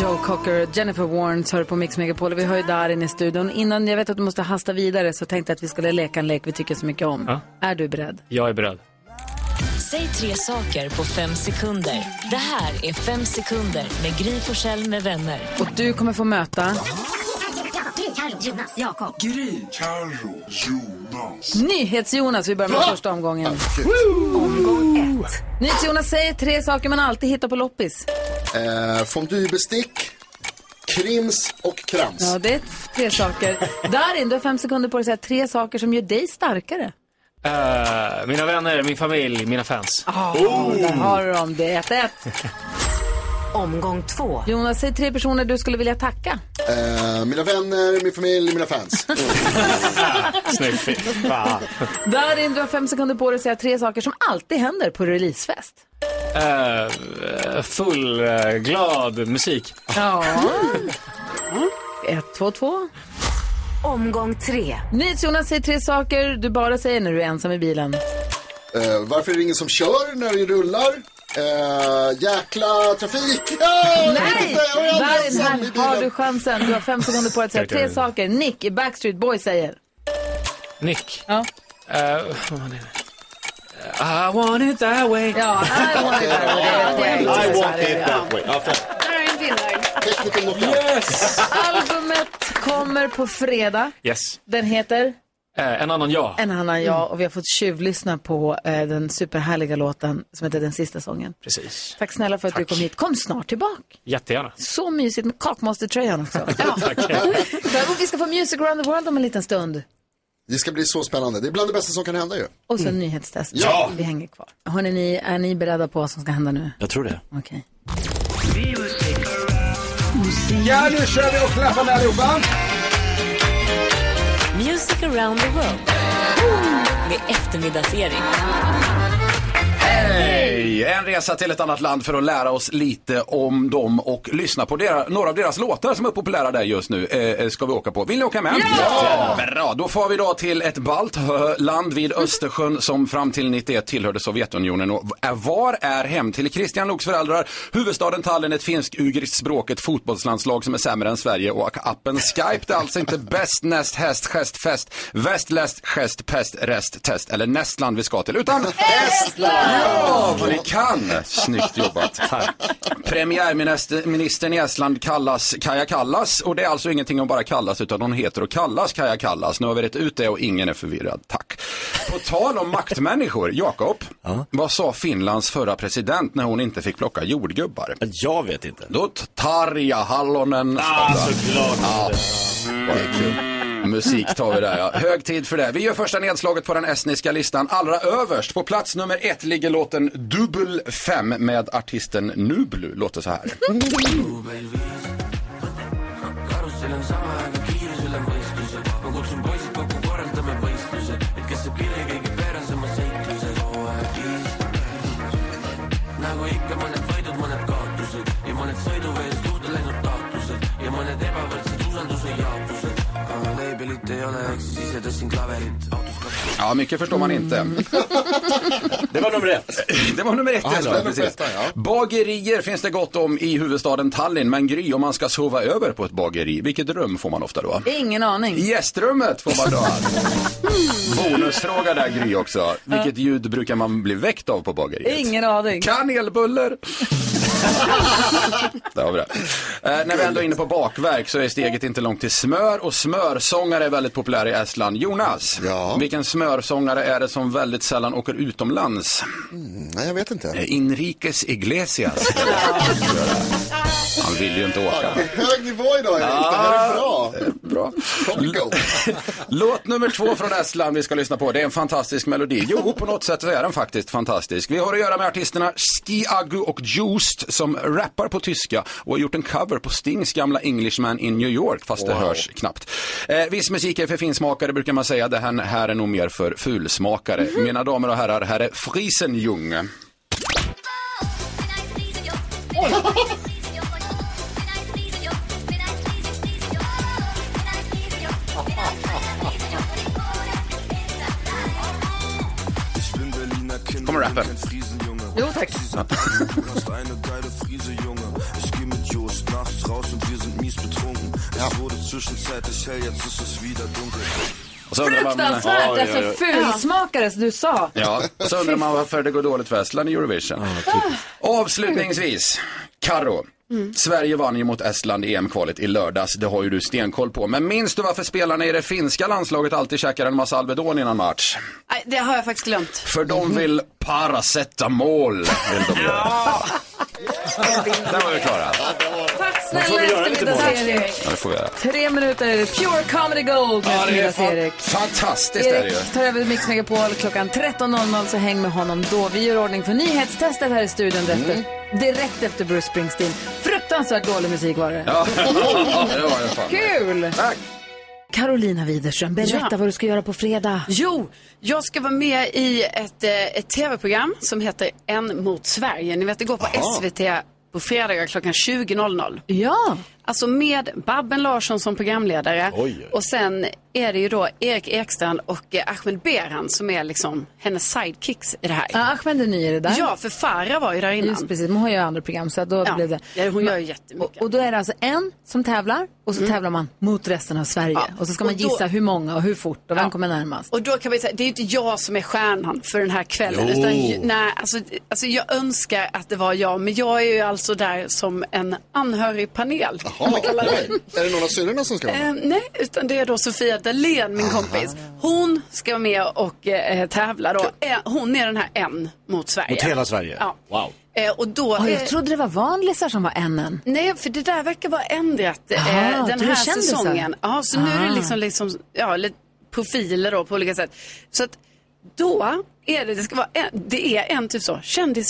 [SPEAKER 2] Joe Cocker, Jennifer Warnes hör på Mix Megapol. Vi har ju Darin i studion. Innan jag vet att du måste hasta vidare så tänkte jag att vi skulle leka en lek vi tycker så mycket om.
[SPEAKER 15] Ja.
[SPEAKER 2] Är du beredd?
[SPEAKER 15] Jag är beredd.
[SPEAKER 18] Säg tre saker på fem sekunder. Det här är Fem sekunder med Gry Forssell med vänner.
[SPEAKER 2] Och du kommer få möta
[SPEAKER 18] Gry, Carro, Jonas, Jakob.
[SPEAKER 9] Gry, Carro, Jonas.
[SPEAKER 2] NyhetsJonas. Vi börjar med
[SPEAKER 9] Va?
[SPEAKER 2] första omgången. Omgång ett. NyhetsJonas säger tre saker man alltid hittar på loppis.
[SPEAKER 3] Eh, fondybestick, krims och krams.
[SPEAKER 2] Ja, det är tre saker. Darin, du har fem sekunder på dig att säga tre saker som gör dig starkare.
[SPEAKER 15] Eh, mina vänner, min familj, mina fans.
[SPEAKER 2] Oh, Där har du dem. Det är 1-1.
[SPEAKER 18] Omgång två.
[SPEAKER 2] Jonas, säg tre personer du skulle vilja tacka.
[SPEAKER 3] Eh, mina vänner, min familj,
[SPEAKER 15] [laughs]
[SPEAKER 3] mina fans.
[SPEAKER 15] Snyggt. Fy fan.
[SPEAKER 2] Darin, du har fem sekunder på dig att säga tre saker som alltid händer på releasefest.
[SPEAKER 15] Eh, full, eh, glad musik.
[SPEAKER 2] Ja. Ett, två, två.
[SPEAKER 18] Omgång tre.
[SPEAKER 2] Jonas säger tre saker du bara säger när du är ensam i bilen.
[SPEAKER 3] Eh, varför är det ingen som kör när det rullar? Eh, jäkla trafik! Ah,
[SPEAKER 2] Nej! Darin,
[SPEAKER 3] ensam i
[SPEAKER 2] här
[SPEAKER 3] bilen.
[SPEAKER 2] har du chansen. Du har fem sekunder på dig att säga tre saker Nick i Backstreet Boys säger.
[SPEAKER 15] Nick.
[SPEAKER 2] Ja.
[SPEAKER 15] Eh, vad var det? Eh, I want it that way.
[SPEAKER 2] Ja, I want it that
[SPEAKER 15] [laughs]
[SPEAKER 2] way.
[SPEAKER 15] I
[SPEAKER 2] Det är
[SPEAKER 15] want
[SPEAKER 2] det.
[SPEAKER 15] it that way. Ja, för-
[SPEAKER 5] Darin vinner.
[SPEAKER 3] Tekniken
[SPEAKER 15] Yes!
[SPEAKER 2] Albumet Programmet kommer på fredag.
[SPEAKER 15] Yes.
[SPEAKER 2] Den heter?
[SPEAKER 15] Eh, en annan jag.
[SPEAKER 2] En annan jag och vi har fått tjuvlyssna på eh, den superhärliga låten som heter Den sista sången.
[SPEAKER 15] Precis.
[SPEAKER 2] Tack snälla för att du kom hit. Kom snart tillbaka.
[SPEAKER 15] Jättegärna.
[SPEAKER 2] Så mysigt med kakmastertröjan också. Ja. Där- och vi ska få Music around the world om en liten stund.
[SPEAKER 3] Det ska bli så spännande. Det är bland det bästa som kan hända ju.
[SPEAKER 2] Och
[SPEAKER 13] Mm.
[SPEAKER 2] så nyhetstest.
[SPEAKER 3] Ja!
[SPEAKER 2] Vi hänger kvar. Hörrni, ni, är ni beredda på vad som ska hända nu?
[SPEAKER 17] Jag tror det.
[SPEAKER 2] Okej.
[SPEAKER 9] Ja, nu kör vi och klappar med allihopa.
[SPEAKER 18] Music around the world. Med eftermiddagsserie.
[SPEAKER 13] Hej! En resa till ett annat land för att lära oss lite om dem och lyssna på dera, några av deras låtar som är populära där just nu. Eh, eh, ska vi åka på. Vill ni åka med?
[SPEAKER 9] Ja!
[SPEAKER 13] Bra, då får vi då till ett balt hö- land vid Östersjön som fram till 91 tillhörde Sovjetunionen. Och är- var är hem till Kristian Loks föräldrar? Huvudstaden Tallinn, ett finsk-ugriskt språket fotbollslandslag som är sämre än Sverige och appen Skype det är alltså inte bäst, näst, häst, gest, fest, väst, läst, gest, pest, rest, test eller nästland vi ska till utan Ja, vad ni [laughs] kan! Snyggt jobbat. Premiärministern i Estland kallas Kaja Kallas och det är alltså ingenting om bara kallas utan hon heter och kallas Kaja Kallas. Nu har vi rätt ut det och ingen är förvirrad, tack. På tal om maktmänniskor, Jakob, vad sa Finlands förra president när hon inte fick plocka jordgubbar? Jag vet inte. Då Tarja Hallonen. Ah, såklart. Ja, vad är kul. Musik tar vi där ja. Hög tid för det. Vi gör första nedslaget på den estniska listan. Allra överst, på plats nummer ett ligger låten Dubbel 5 med artisten Nublu. Låter så här.
[SPEAKER 9] karussell on sama , aga kiirusel on võistluse . ma kutsun poisid kokku , korraldame võistluse , et kes see pilli kõige pärasema seikluse hooaeg viis . nagu ikka mõned võidud , mõned kaotused ja mõned sõiduvees luurde läinud taotlused ja mõned ebavõrdsed usalduse jaotused . aga leebelit ei ole , ehk siis ise tõstsin klaverit .
[SPEAKER 13] Ja, mycket förstår man inte. Det var nummer ett. Det var nummer ett,
[SPEAKER 9] Ja, det var
[SPEAKER 13] ja,
[SPEAKER 9] nummer
[SPEAKER 13] precis.
[SPEAKER 9] ett, ja.
[SPEAKER 13] Bagerier finns det gott om i huvudstaden Tallinn, men Gry, om man ska sova över på ett bageri, vilket rum får man ofta då?
[SPEAKER 2] Ingen aning.
[SPEAKER 13] I gästrummet får [laughs] man dra. Bonusfråga där Gry också. Vilket ljud brukar man bli väckt av på bageriet?
[SPEAKER 2] Ingen aning.
[SPEAKER 13] Kanelbuller. Där har vi det. Eh, när vi ändå är inne på bakverk så är steget inte långt till smör och smörsångare är väldigt populära i Estland. Jonas, vilken smörsångare är det som väldigt sällan åker utomlands?
[SPEAKER 3] Mm, nej, jag vet inte.
[SPEAKER 13] Inrikes
[SPEAKER 3] [laughs]
[SPEAKER 13] Iglesias. Han vill ju inte åka.
[SPEAKER 3] Hög nivå idag, Erik. Det här är bra.
[SPEAKER 13] Bra. Låt nummer två från Estland vi ska lyssna på. Det är en fantastisk melodi. Jo, på något sätt så är den faktiskt fantastisk. Vi har att göra med artisterna Ski Agu och Joost som rappar på tyska och har gjort en cover på Stings gamla Englishman in New York, fast det
[SPEAKER 9] Wow.
[SPEAKER 13] hörs knappt. Eh, viss musik är för finsmakare brukar man säga. Det här, här är nog mer för fulsmakare. Mina damer och herrar, här är Friesenjung. Kommer rappen.
[SPEAKER 2] Jo
[SPEAKER 13] [laughs]
[SPEAKER 2] tack.
[SPEAKER 13] Och så undrar man-
[SPEAKER 2] Fruktansvärt!
[SPEAKER 13] Oj, oj, oj.
[SPEAKER 2] Alltså fulsmakare som du sa.
[SPEAKER 13] Ja, så undrar man varför det går dåligt för Estland i Eurovision. Avslutningsvis, Karo. Sverige vann ju mot Estland i EM-kvalet i lördags, det har ju du stenkoll på. Men minns du varför spelarna i det finska landslaget alltid käkar en massa Alvedon innan match?
[SPEAKER 5] Nej, det har jag faktiskt glömt.
[SPEAKER 13] För de vill paracetamol. Vill de göra. Där var vi klara.
[SPEAKER 2] Tack
[SPEAKER 13] Då får
[SPEAKER 2] snälla
[SPEAKER 13] vi göra lite mål.
[SPEAKER 2] eftermiddags-Erik.
[SPEAKER 13] Ja, det får vi göra.
[SPEAKER 2] Tre minuter pure comedy gold med
[SPEAKER 13] Ja, det är
[SPEAKER 2] eftermiddags-Erik.
[SPEAKER 13] Fantastiskt är det ju.
[SPEAKER 2] Erik tar över Mix Megapol klockan 13.00 så häng med honom då. Vi gör ordning för nyhetstestet här i studion
[SPEAKER 13] Mm.
[SPEAKER 2] direkt, direkt efter Bruce Springsteen. Fruktansvärt dålig musik var
[SPEAKER 13] [laughs]
[SPEAKER 2] det.
[SPEAKER 9] Ja, det var det fan.
[SPEAKER 2] Kul! Tack. Carolina Widerström, berätta
[SPEAKER 5] Ja.
[SPEAKER 2] vad du ska göra på fredag.
[SPEAKER 5] Jo, jag ska vara med i ett, eh, ett tv-program som heter En mot Sverige. Ni vet, det går på
[SPEAKER 2] Aha.
[SPEAKER 5] SVT på fredagar klockan 20.00.
[SPEAKER 2] Ja.
[SPEAKER 5] Alltså med Babben Larsson som programledare. Och sen är det ju då Erik Ekstrand och eh, Ahmed Beran som är liksom hennes sidekicks i det här.
[SPEAKER 2] Ja, Ahmed är ny i det där.
[SPEAKER 5] Ja, för Farah var ju där innan.
[SPEAKER 2] Just precis, men hon gör ju andra program så då
[SPEAKER 5] Ja,
[SPEAKER 2] blev det.
[SPEAKER 5] ja, hon gör ju jättemycket. Mm.
[SPEAKER 2] Och, och då är det alltså en som tävlar och så tävlar man mot resten av Sverige. Och så ska man
[SPEAKER 5] och då-
[SPEAKER 2] gissa hur många och hur fort och vem kommer närmast.
[SPEAKER 5] Och då kan man säga, det är ju inte jag som är stjärnan för den här kvällen.
[SPEAKER 2] Jo.
[SPEAKER 5] Utan, ju- nej, alltså, alltså jag önskar att det var jag, men jag är ju alltså där som en anhörig panel.
[SPEAKER 3] Jaha, oj. Är det någon av syrrorna som ska vara med?
[SPEAKER 5] Eh, nej, utan det är då Sofia Dalén, min kompis. Hon ska vara med och eh, tävla då. Eh, hon är den här en mot Sverige.
[SPEAKER 4] Mot hela Sverige?
[SPEAKER 5] Ja.
[SPEAKER 4] Wow.
[SPEAKER 5] Eh, och då...
[SPEAKER 2] Oj,
[SPEAKER 5] eh,
[SPEAKER 2] jag trodde det var vanlisar som var NN.
[SPEAKER 5] Nej, för det där verkar vara ändrat eh,
[SPEAKER 2] Aha,
[SPEAKER 5] den
[SPEAKER 2] du är
[SPEAKER 5] här
[SPEAKER 2] kändisen.
[SPEAKER 5] säsongen. Ja, så nu är
[SPEAKER 2] Ah.
[SPEAKER 5] det liksom, liksom ja, lite profiler då på olika sätt. Så att då är det, det ska vara en, det är en typ så,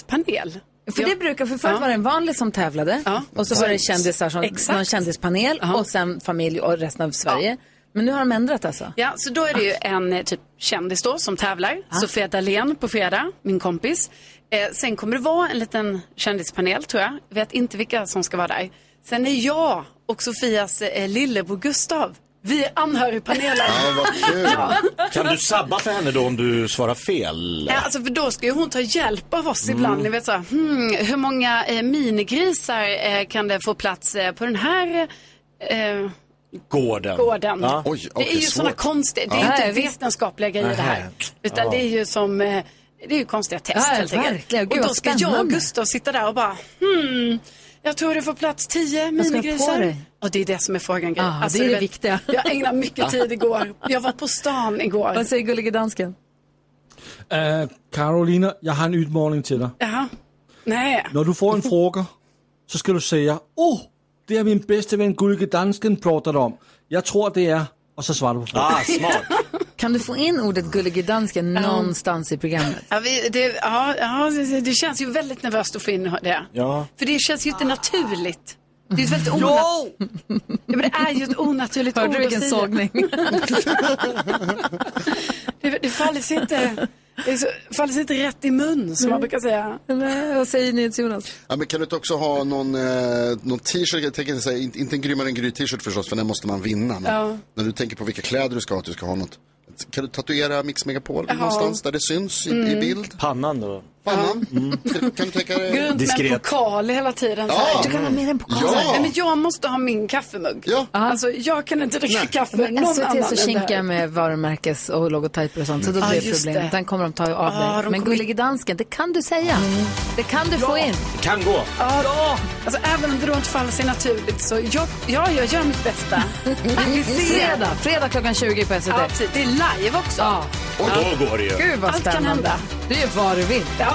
[SPEAKER 5] kändispanel.
[SPEAKER 2] För det brukar, för förut var det en vanlig som tävlade och så var det kändisar som, någon kändispanel och sen familj och resten av Sverige. Men nu har de ändrat alltså?
[SPEAKER 5] Ja, så då är det ju en eh, typ kändis då som tävlar. Sofia Dalén på fredag, min kompis. Eh, sen kommer det vara en liten kändispanel tror jag. Vet inte vilka som ska vara där. Sen är jag och Sofias eh, lillebror Gustav. Vi är anhörigpanelen.
[SPEAKER 4] Ja, vad kul.
[SPEAKER 5] Ja.
[SPEAKER 4] Kan du sabba för henne då om du svarar fel?
[SPEAKER 5] Ja, alltså för då ska ju hon ta hjälp av oss
[SPEAKER 4] Mm.
[SPEAKER 5] ibland. Ni vet så här, hmm, hur många eh, minigrisar eh, kan det få plats eh, på den här eh,
[SPEAKER 4] Gården.
[SPEAKER 5] gården?
[SPEAKER 4] Ja.
[SPEAKER 5] det är ju sådana konstiga, det är
[SPEAKER 2] Ja.
[SPEAKER 5] inte
[SPEAKER 2] Nej, visst.
[SPEAKER 5] vetenskapliga grejer det här.
[SPEAKER 2] Nähä.
[SPEAKER 5] Utan
[SPEAKER 2] Ja.
[SPEAKER 5] det är ju som, eh, det är ju konstiga test
[SPEAKER 2] Ja,
[SPEAKER 5] helt
[SPEAKER 2] verkligen.
[SPEAKER 5] enkelt.
[SPEAKER 2] Gud,
[SPEAKER 5] Och då
[SPEAKER 2] vad
[SPEAKER 5] ska jag och
[SPEAKER 2] spännande.
[SPEAKER 5] Gustav sitta där och bara, hmm, jag tror det får plats tio
[SPEAKER 2] Vad ska du ha på
[SPEAKER 5] minigrisar.
[SPEAKER 2] dig?
[SPEAKER 5] Och det är det som är frågan. Gry.
[SPEAKER 2] Ah, det är
[SPEAKER 5] du
[SPEAKER 2] det
[SPEAKER 5] vet,
[SPEAKER 2] viktiga.
[SPEAKER 5] [laughs] Jag ägnade mycket tid igår. Jag var på stan igår.
[SPEAKER 2] Vad säger gullige dansken?
[SPEAKER 7] Uh, Carolina, jeg har en udmåling til dig.
[SPEAKER 5] Jaha. Nej.
[SPEAKER 7] Når du får en fråga, så skal du sige, oh, det er min bedste ven Gulke Dansken pratet om. Jeg tror, det er, og så svarer du på frågan.
[SPEAKER 4] Ah,
[SPEAKER 2] [laughs] Kan du få in ordet gullige dansken någonstans i programmet?
[SPEAKER 5] Ja, vi, det, ja, ja, det- det känns ju väldigt nervöst att få in det.
[SPEAKER 7] Ja.
[SPEAKER 5] För det känns ju inte naturligt. Det är ju ett väldigt
[SPEAKER 2] Ah. [laughs] Jo!
[SPEAKER 5] onat- ja, men det är ju ett onaturligt
[SPEAKER 2] Hörde
[SPEAKER 5] ord
[SPEAKER 2] du vilken
[SPEAKER 5] att säga.
[SPEAKER 2] sågning?
[SPEAKER 5] [laughs] det, det falls inte, det är så, falls inte rätt i mun som man brukar säga.
[SPEAKER 2] Nej, vad säger ni till Jonas?
[SPEAKER 3] Ja, men kan du inte också ha någon, eh, någon t-shirt? Jag tänker så här, inte, inte en grymmare än Gry-t-shirt förstås, för den måste man vinna. Men
[SPEAKER 5] Ja.
[SPEAKER 3] när du tänker på vilka kläder du ska ha, att du ska ha något. Kan du tatuera Mix Megapol
[SPEAKER 5] Ja.
[SPEAKER 3] någonstans där det syns i, i
[SPEAKER 5] Mm.
[SPEAKER 3] bild?
[SPEAKER 4] Pannan då?
[SPEAKER 3] Pannan? mm. Kan, kan du tänka
[SPEAKER 5] Gå
[SPEAKER 3] dig?
[SPEAKER 5] runt med en pokal hela tiden. så här.
[SPEAKER 3] Ja. Du kan ha med
[SPEAKER 2] en
[SPEAKER 3] pokal. Ja.
[SPEAKER 5] Nej, men jag måste ha min kaffemugg.
[SPEAKER 3] Ja.
[SPEAKER 5] Alltså, jag kan inte dricka kaffe
[SPEAKER 2] Men
[SPEAKER 5] någon
[SPEAKER 2] SVT
[SPEAKER 5] annan
[SPEAKER 2] så
[SPEAKER 5] än
[SPEAKER 2] kinkar
[SPEAKER 5] där.
[SPEAKER 2] jag med varumärkes och logotyper och sånt, så då
[SPEAKER 1] Ah,
[SPEAKER 5] Ja,
[SPEAKER 2] blir det
[SPEAKER 5] just
[SPEAKER 2] problem.
[SPEAKER 5] det.
[SPEAKER 2] Den kommer de ta av
[SPEAKER 5] Ja,
[SPEAKER 2] dig.
[SPEAKER 5] de
[SPEAKER 2] Men
[SPEAKER 5] kommer- Mm.
[SPEAKER 2] gullige dansken, det kan du säga. Det kan du få in.
[SPEAKER 4] Kan gå.
[SPEAKER 5] Ja, alltså även om det då inte faller sig naturligt så jag, ja, jag gör mitt
[SPEAKER 2] [laughs]
[SPEAKER 5] bästa. Vi ses.
[SPEAKER 2] Fredag, fredag klockan 20 på SVT.
[SPEAKER 5] Ja, precis. Det är live också. Ja.
[SPEAKER 4] Och då går det ju.
[SPEAKER 2] Gud vad
[SPEAKER 5] Allt kan
[SPEAKER 2] spännande.
[SPEAKER 5] hända.
[SPEAKER 2] Du gör vad du vill.
[SPEAKER 5] Ja, ja.